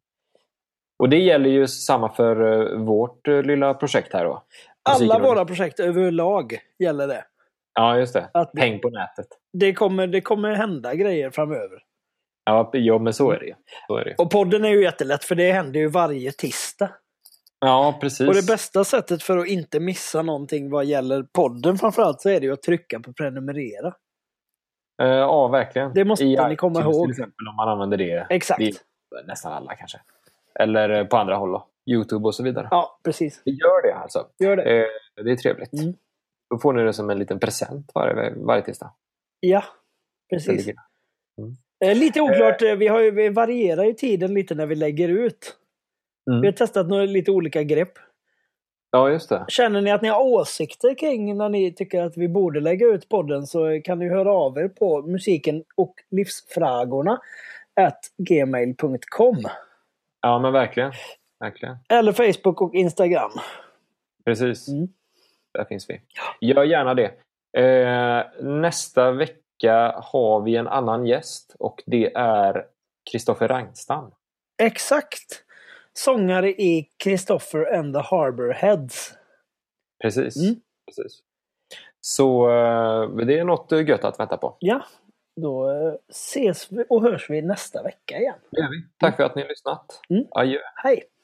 E: Och det gäller ju samma för eh, vårt eh, lilla projekt här då.
B: Alla
E: Musiken-
B: våra projekt överlag gäller det.
E: Ja, just det.
B: Att-
E: Häng på nätet.
B: Det kommer, det kommer hända grejer framöver.
E: Ja, ja men så är det ju. Så är det. ju.
B: Och podden är ju jättelätt, för det händer ju varje tisdag.
E: Ja, precis.
B: Och det bästa sättet för att inte missa någonting vad gäller podden framförallt så är det ju att trycka på prenumerera.
E: Eh, ja, verkligen.
B: Det måste ni komma
E: iTunes
B: ihåg.
E: Till exempel om man använder det.
B: Exakt.
E: Det är nästan alla kanske. Eller eh, på andra håll då. Youtube och så vidare.
B: Ja, precis.
E: Gör det alltså.
B: Gör det.
E: Eh, Det är trevligt.
B: Mm.
E: Då får ni det som en liten present varje, varje tisdag.
B: Ja,
E: Det
B: precis.
E: ligger-
B: Eh, Lite oklart, eh, vi, har ju, vi varierar ju tiden lite när vi lägger ut.
E: Mm.
B: Vi har testat några lite olika grepp.
E: Ja, just det.
B: Känner ni att ni har åsikter kring när ni tycker att vi borde lägga ut podden så kan ni höra av er på musiken och livsfrågorna at gmail.com
E: Ja, men verkligen. Verkligen.
B: eller Facebook och Instagram.
E: Precis.
B: Mm.
E: Där finns vi. Gör gärna det. Eh, nästa vecka har vi en annan gäst och det är Kristoffer Rangstam.
B: Exakt! Sångare i Christopher and the Harbour Heads.
E: Precis.
B: Mm.
E: Precis. Så eh, det är något gött att vänta på.
B: Ja, då eh, ses vi och hörs vi nästa vecka igen.
E: Det gör vi. Tack för att ni har lyssnat.
B: Mm.
E: Adjö.
B: Hej!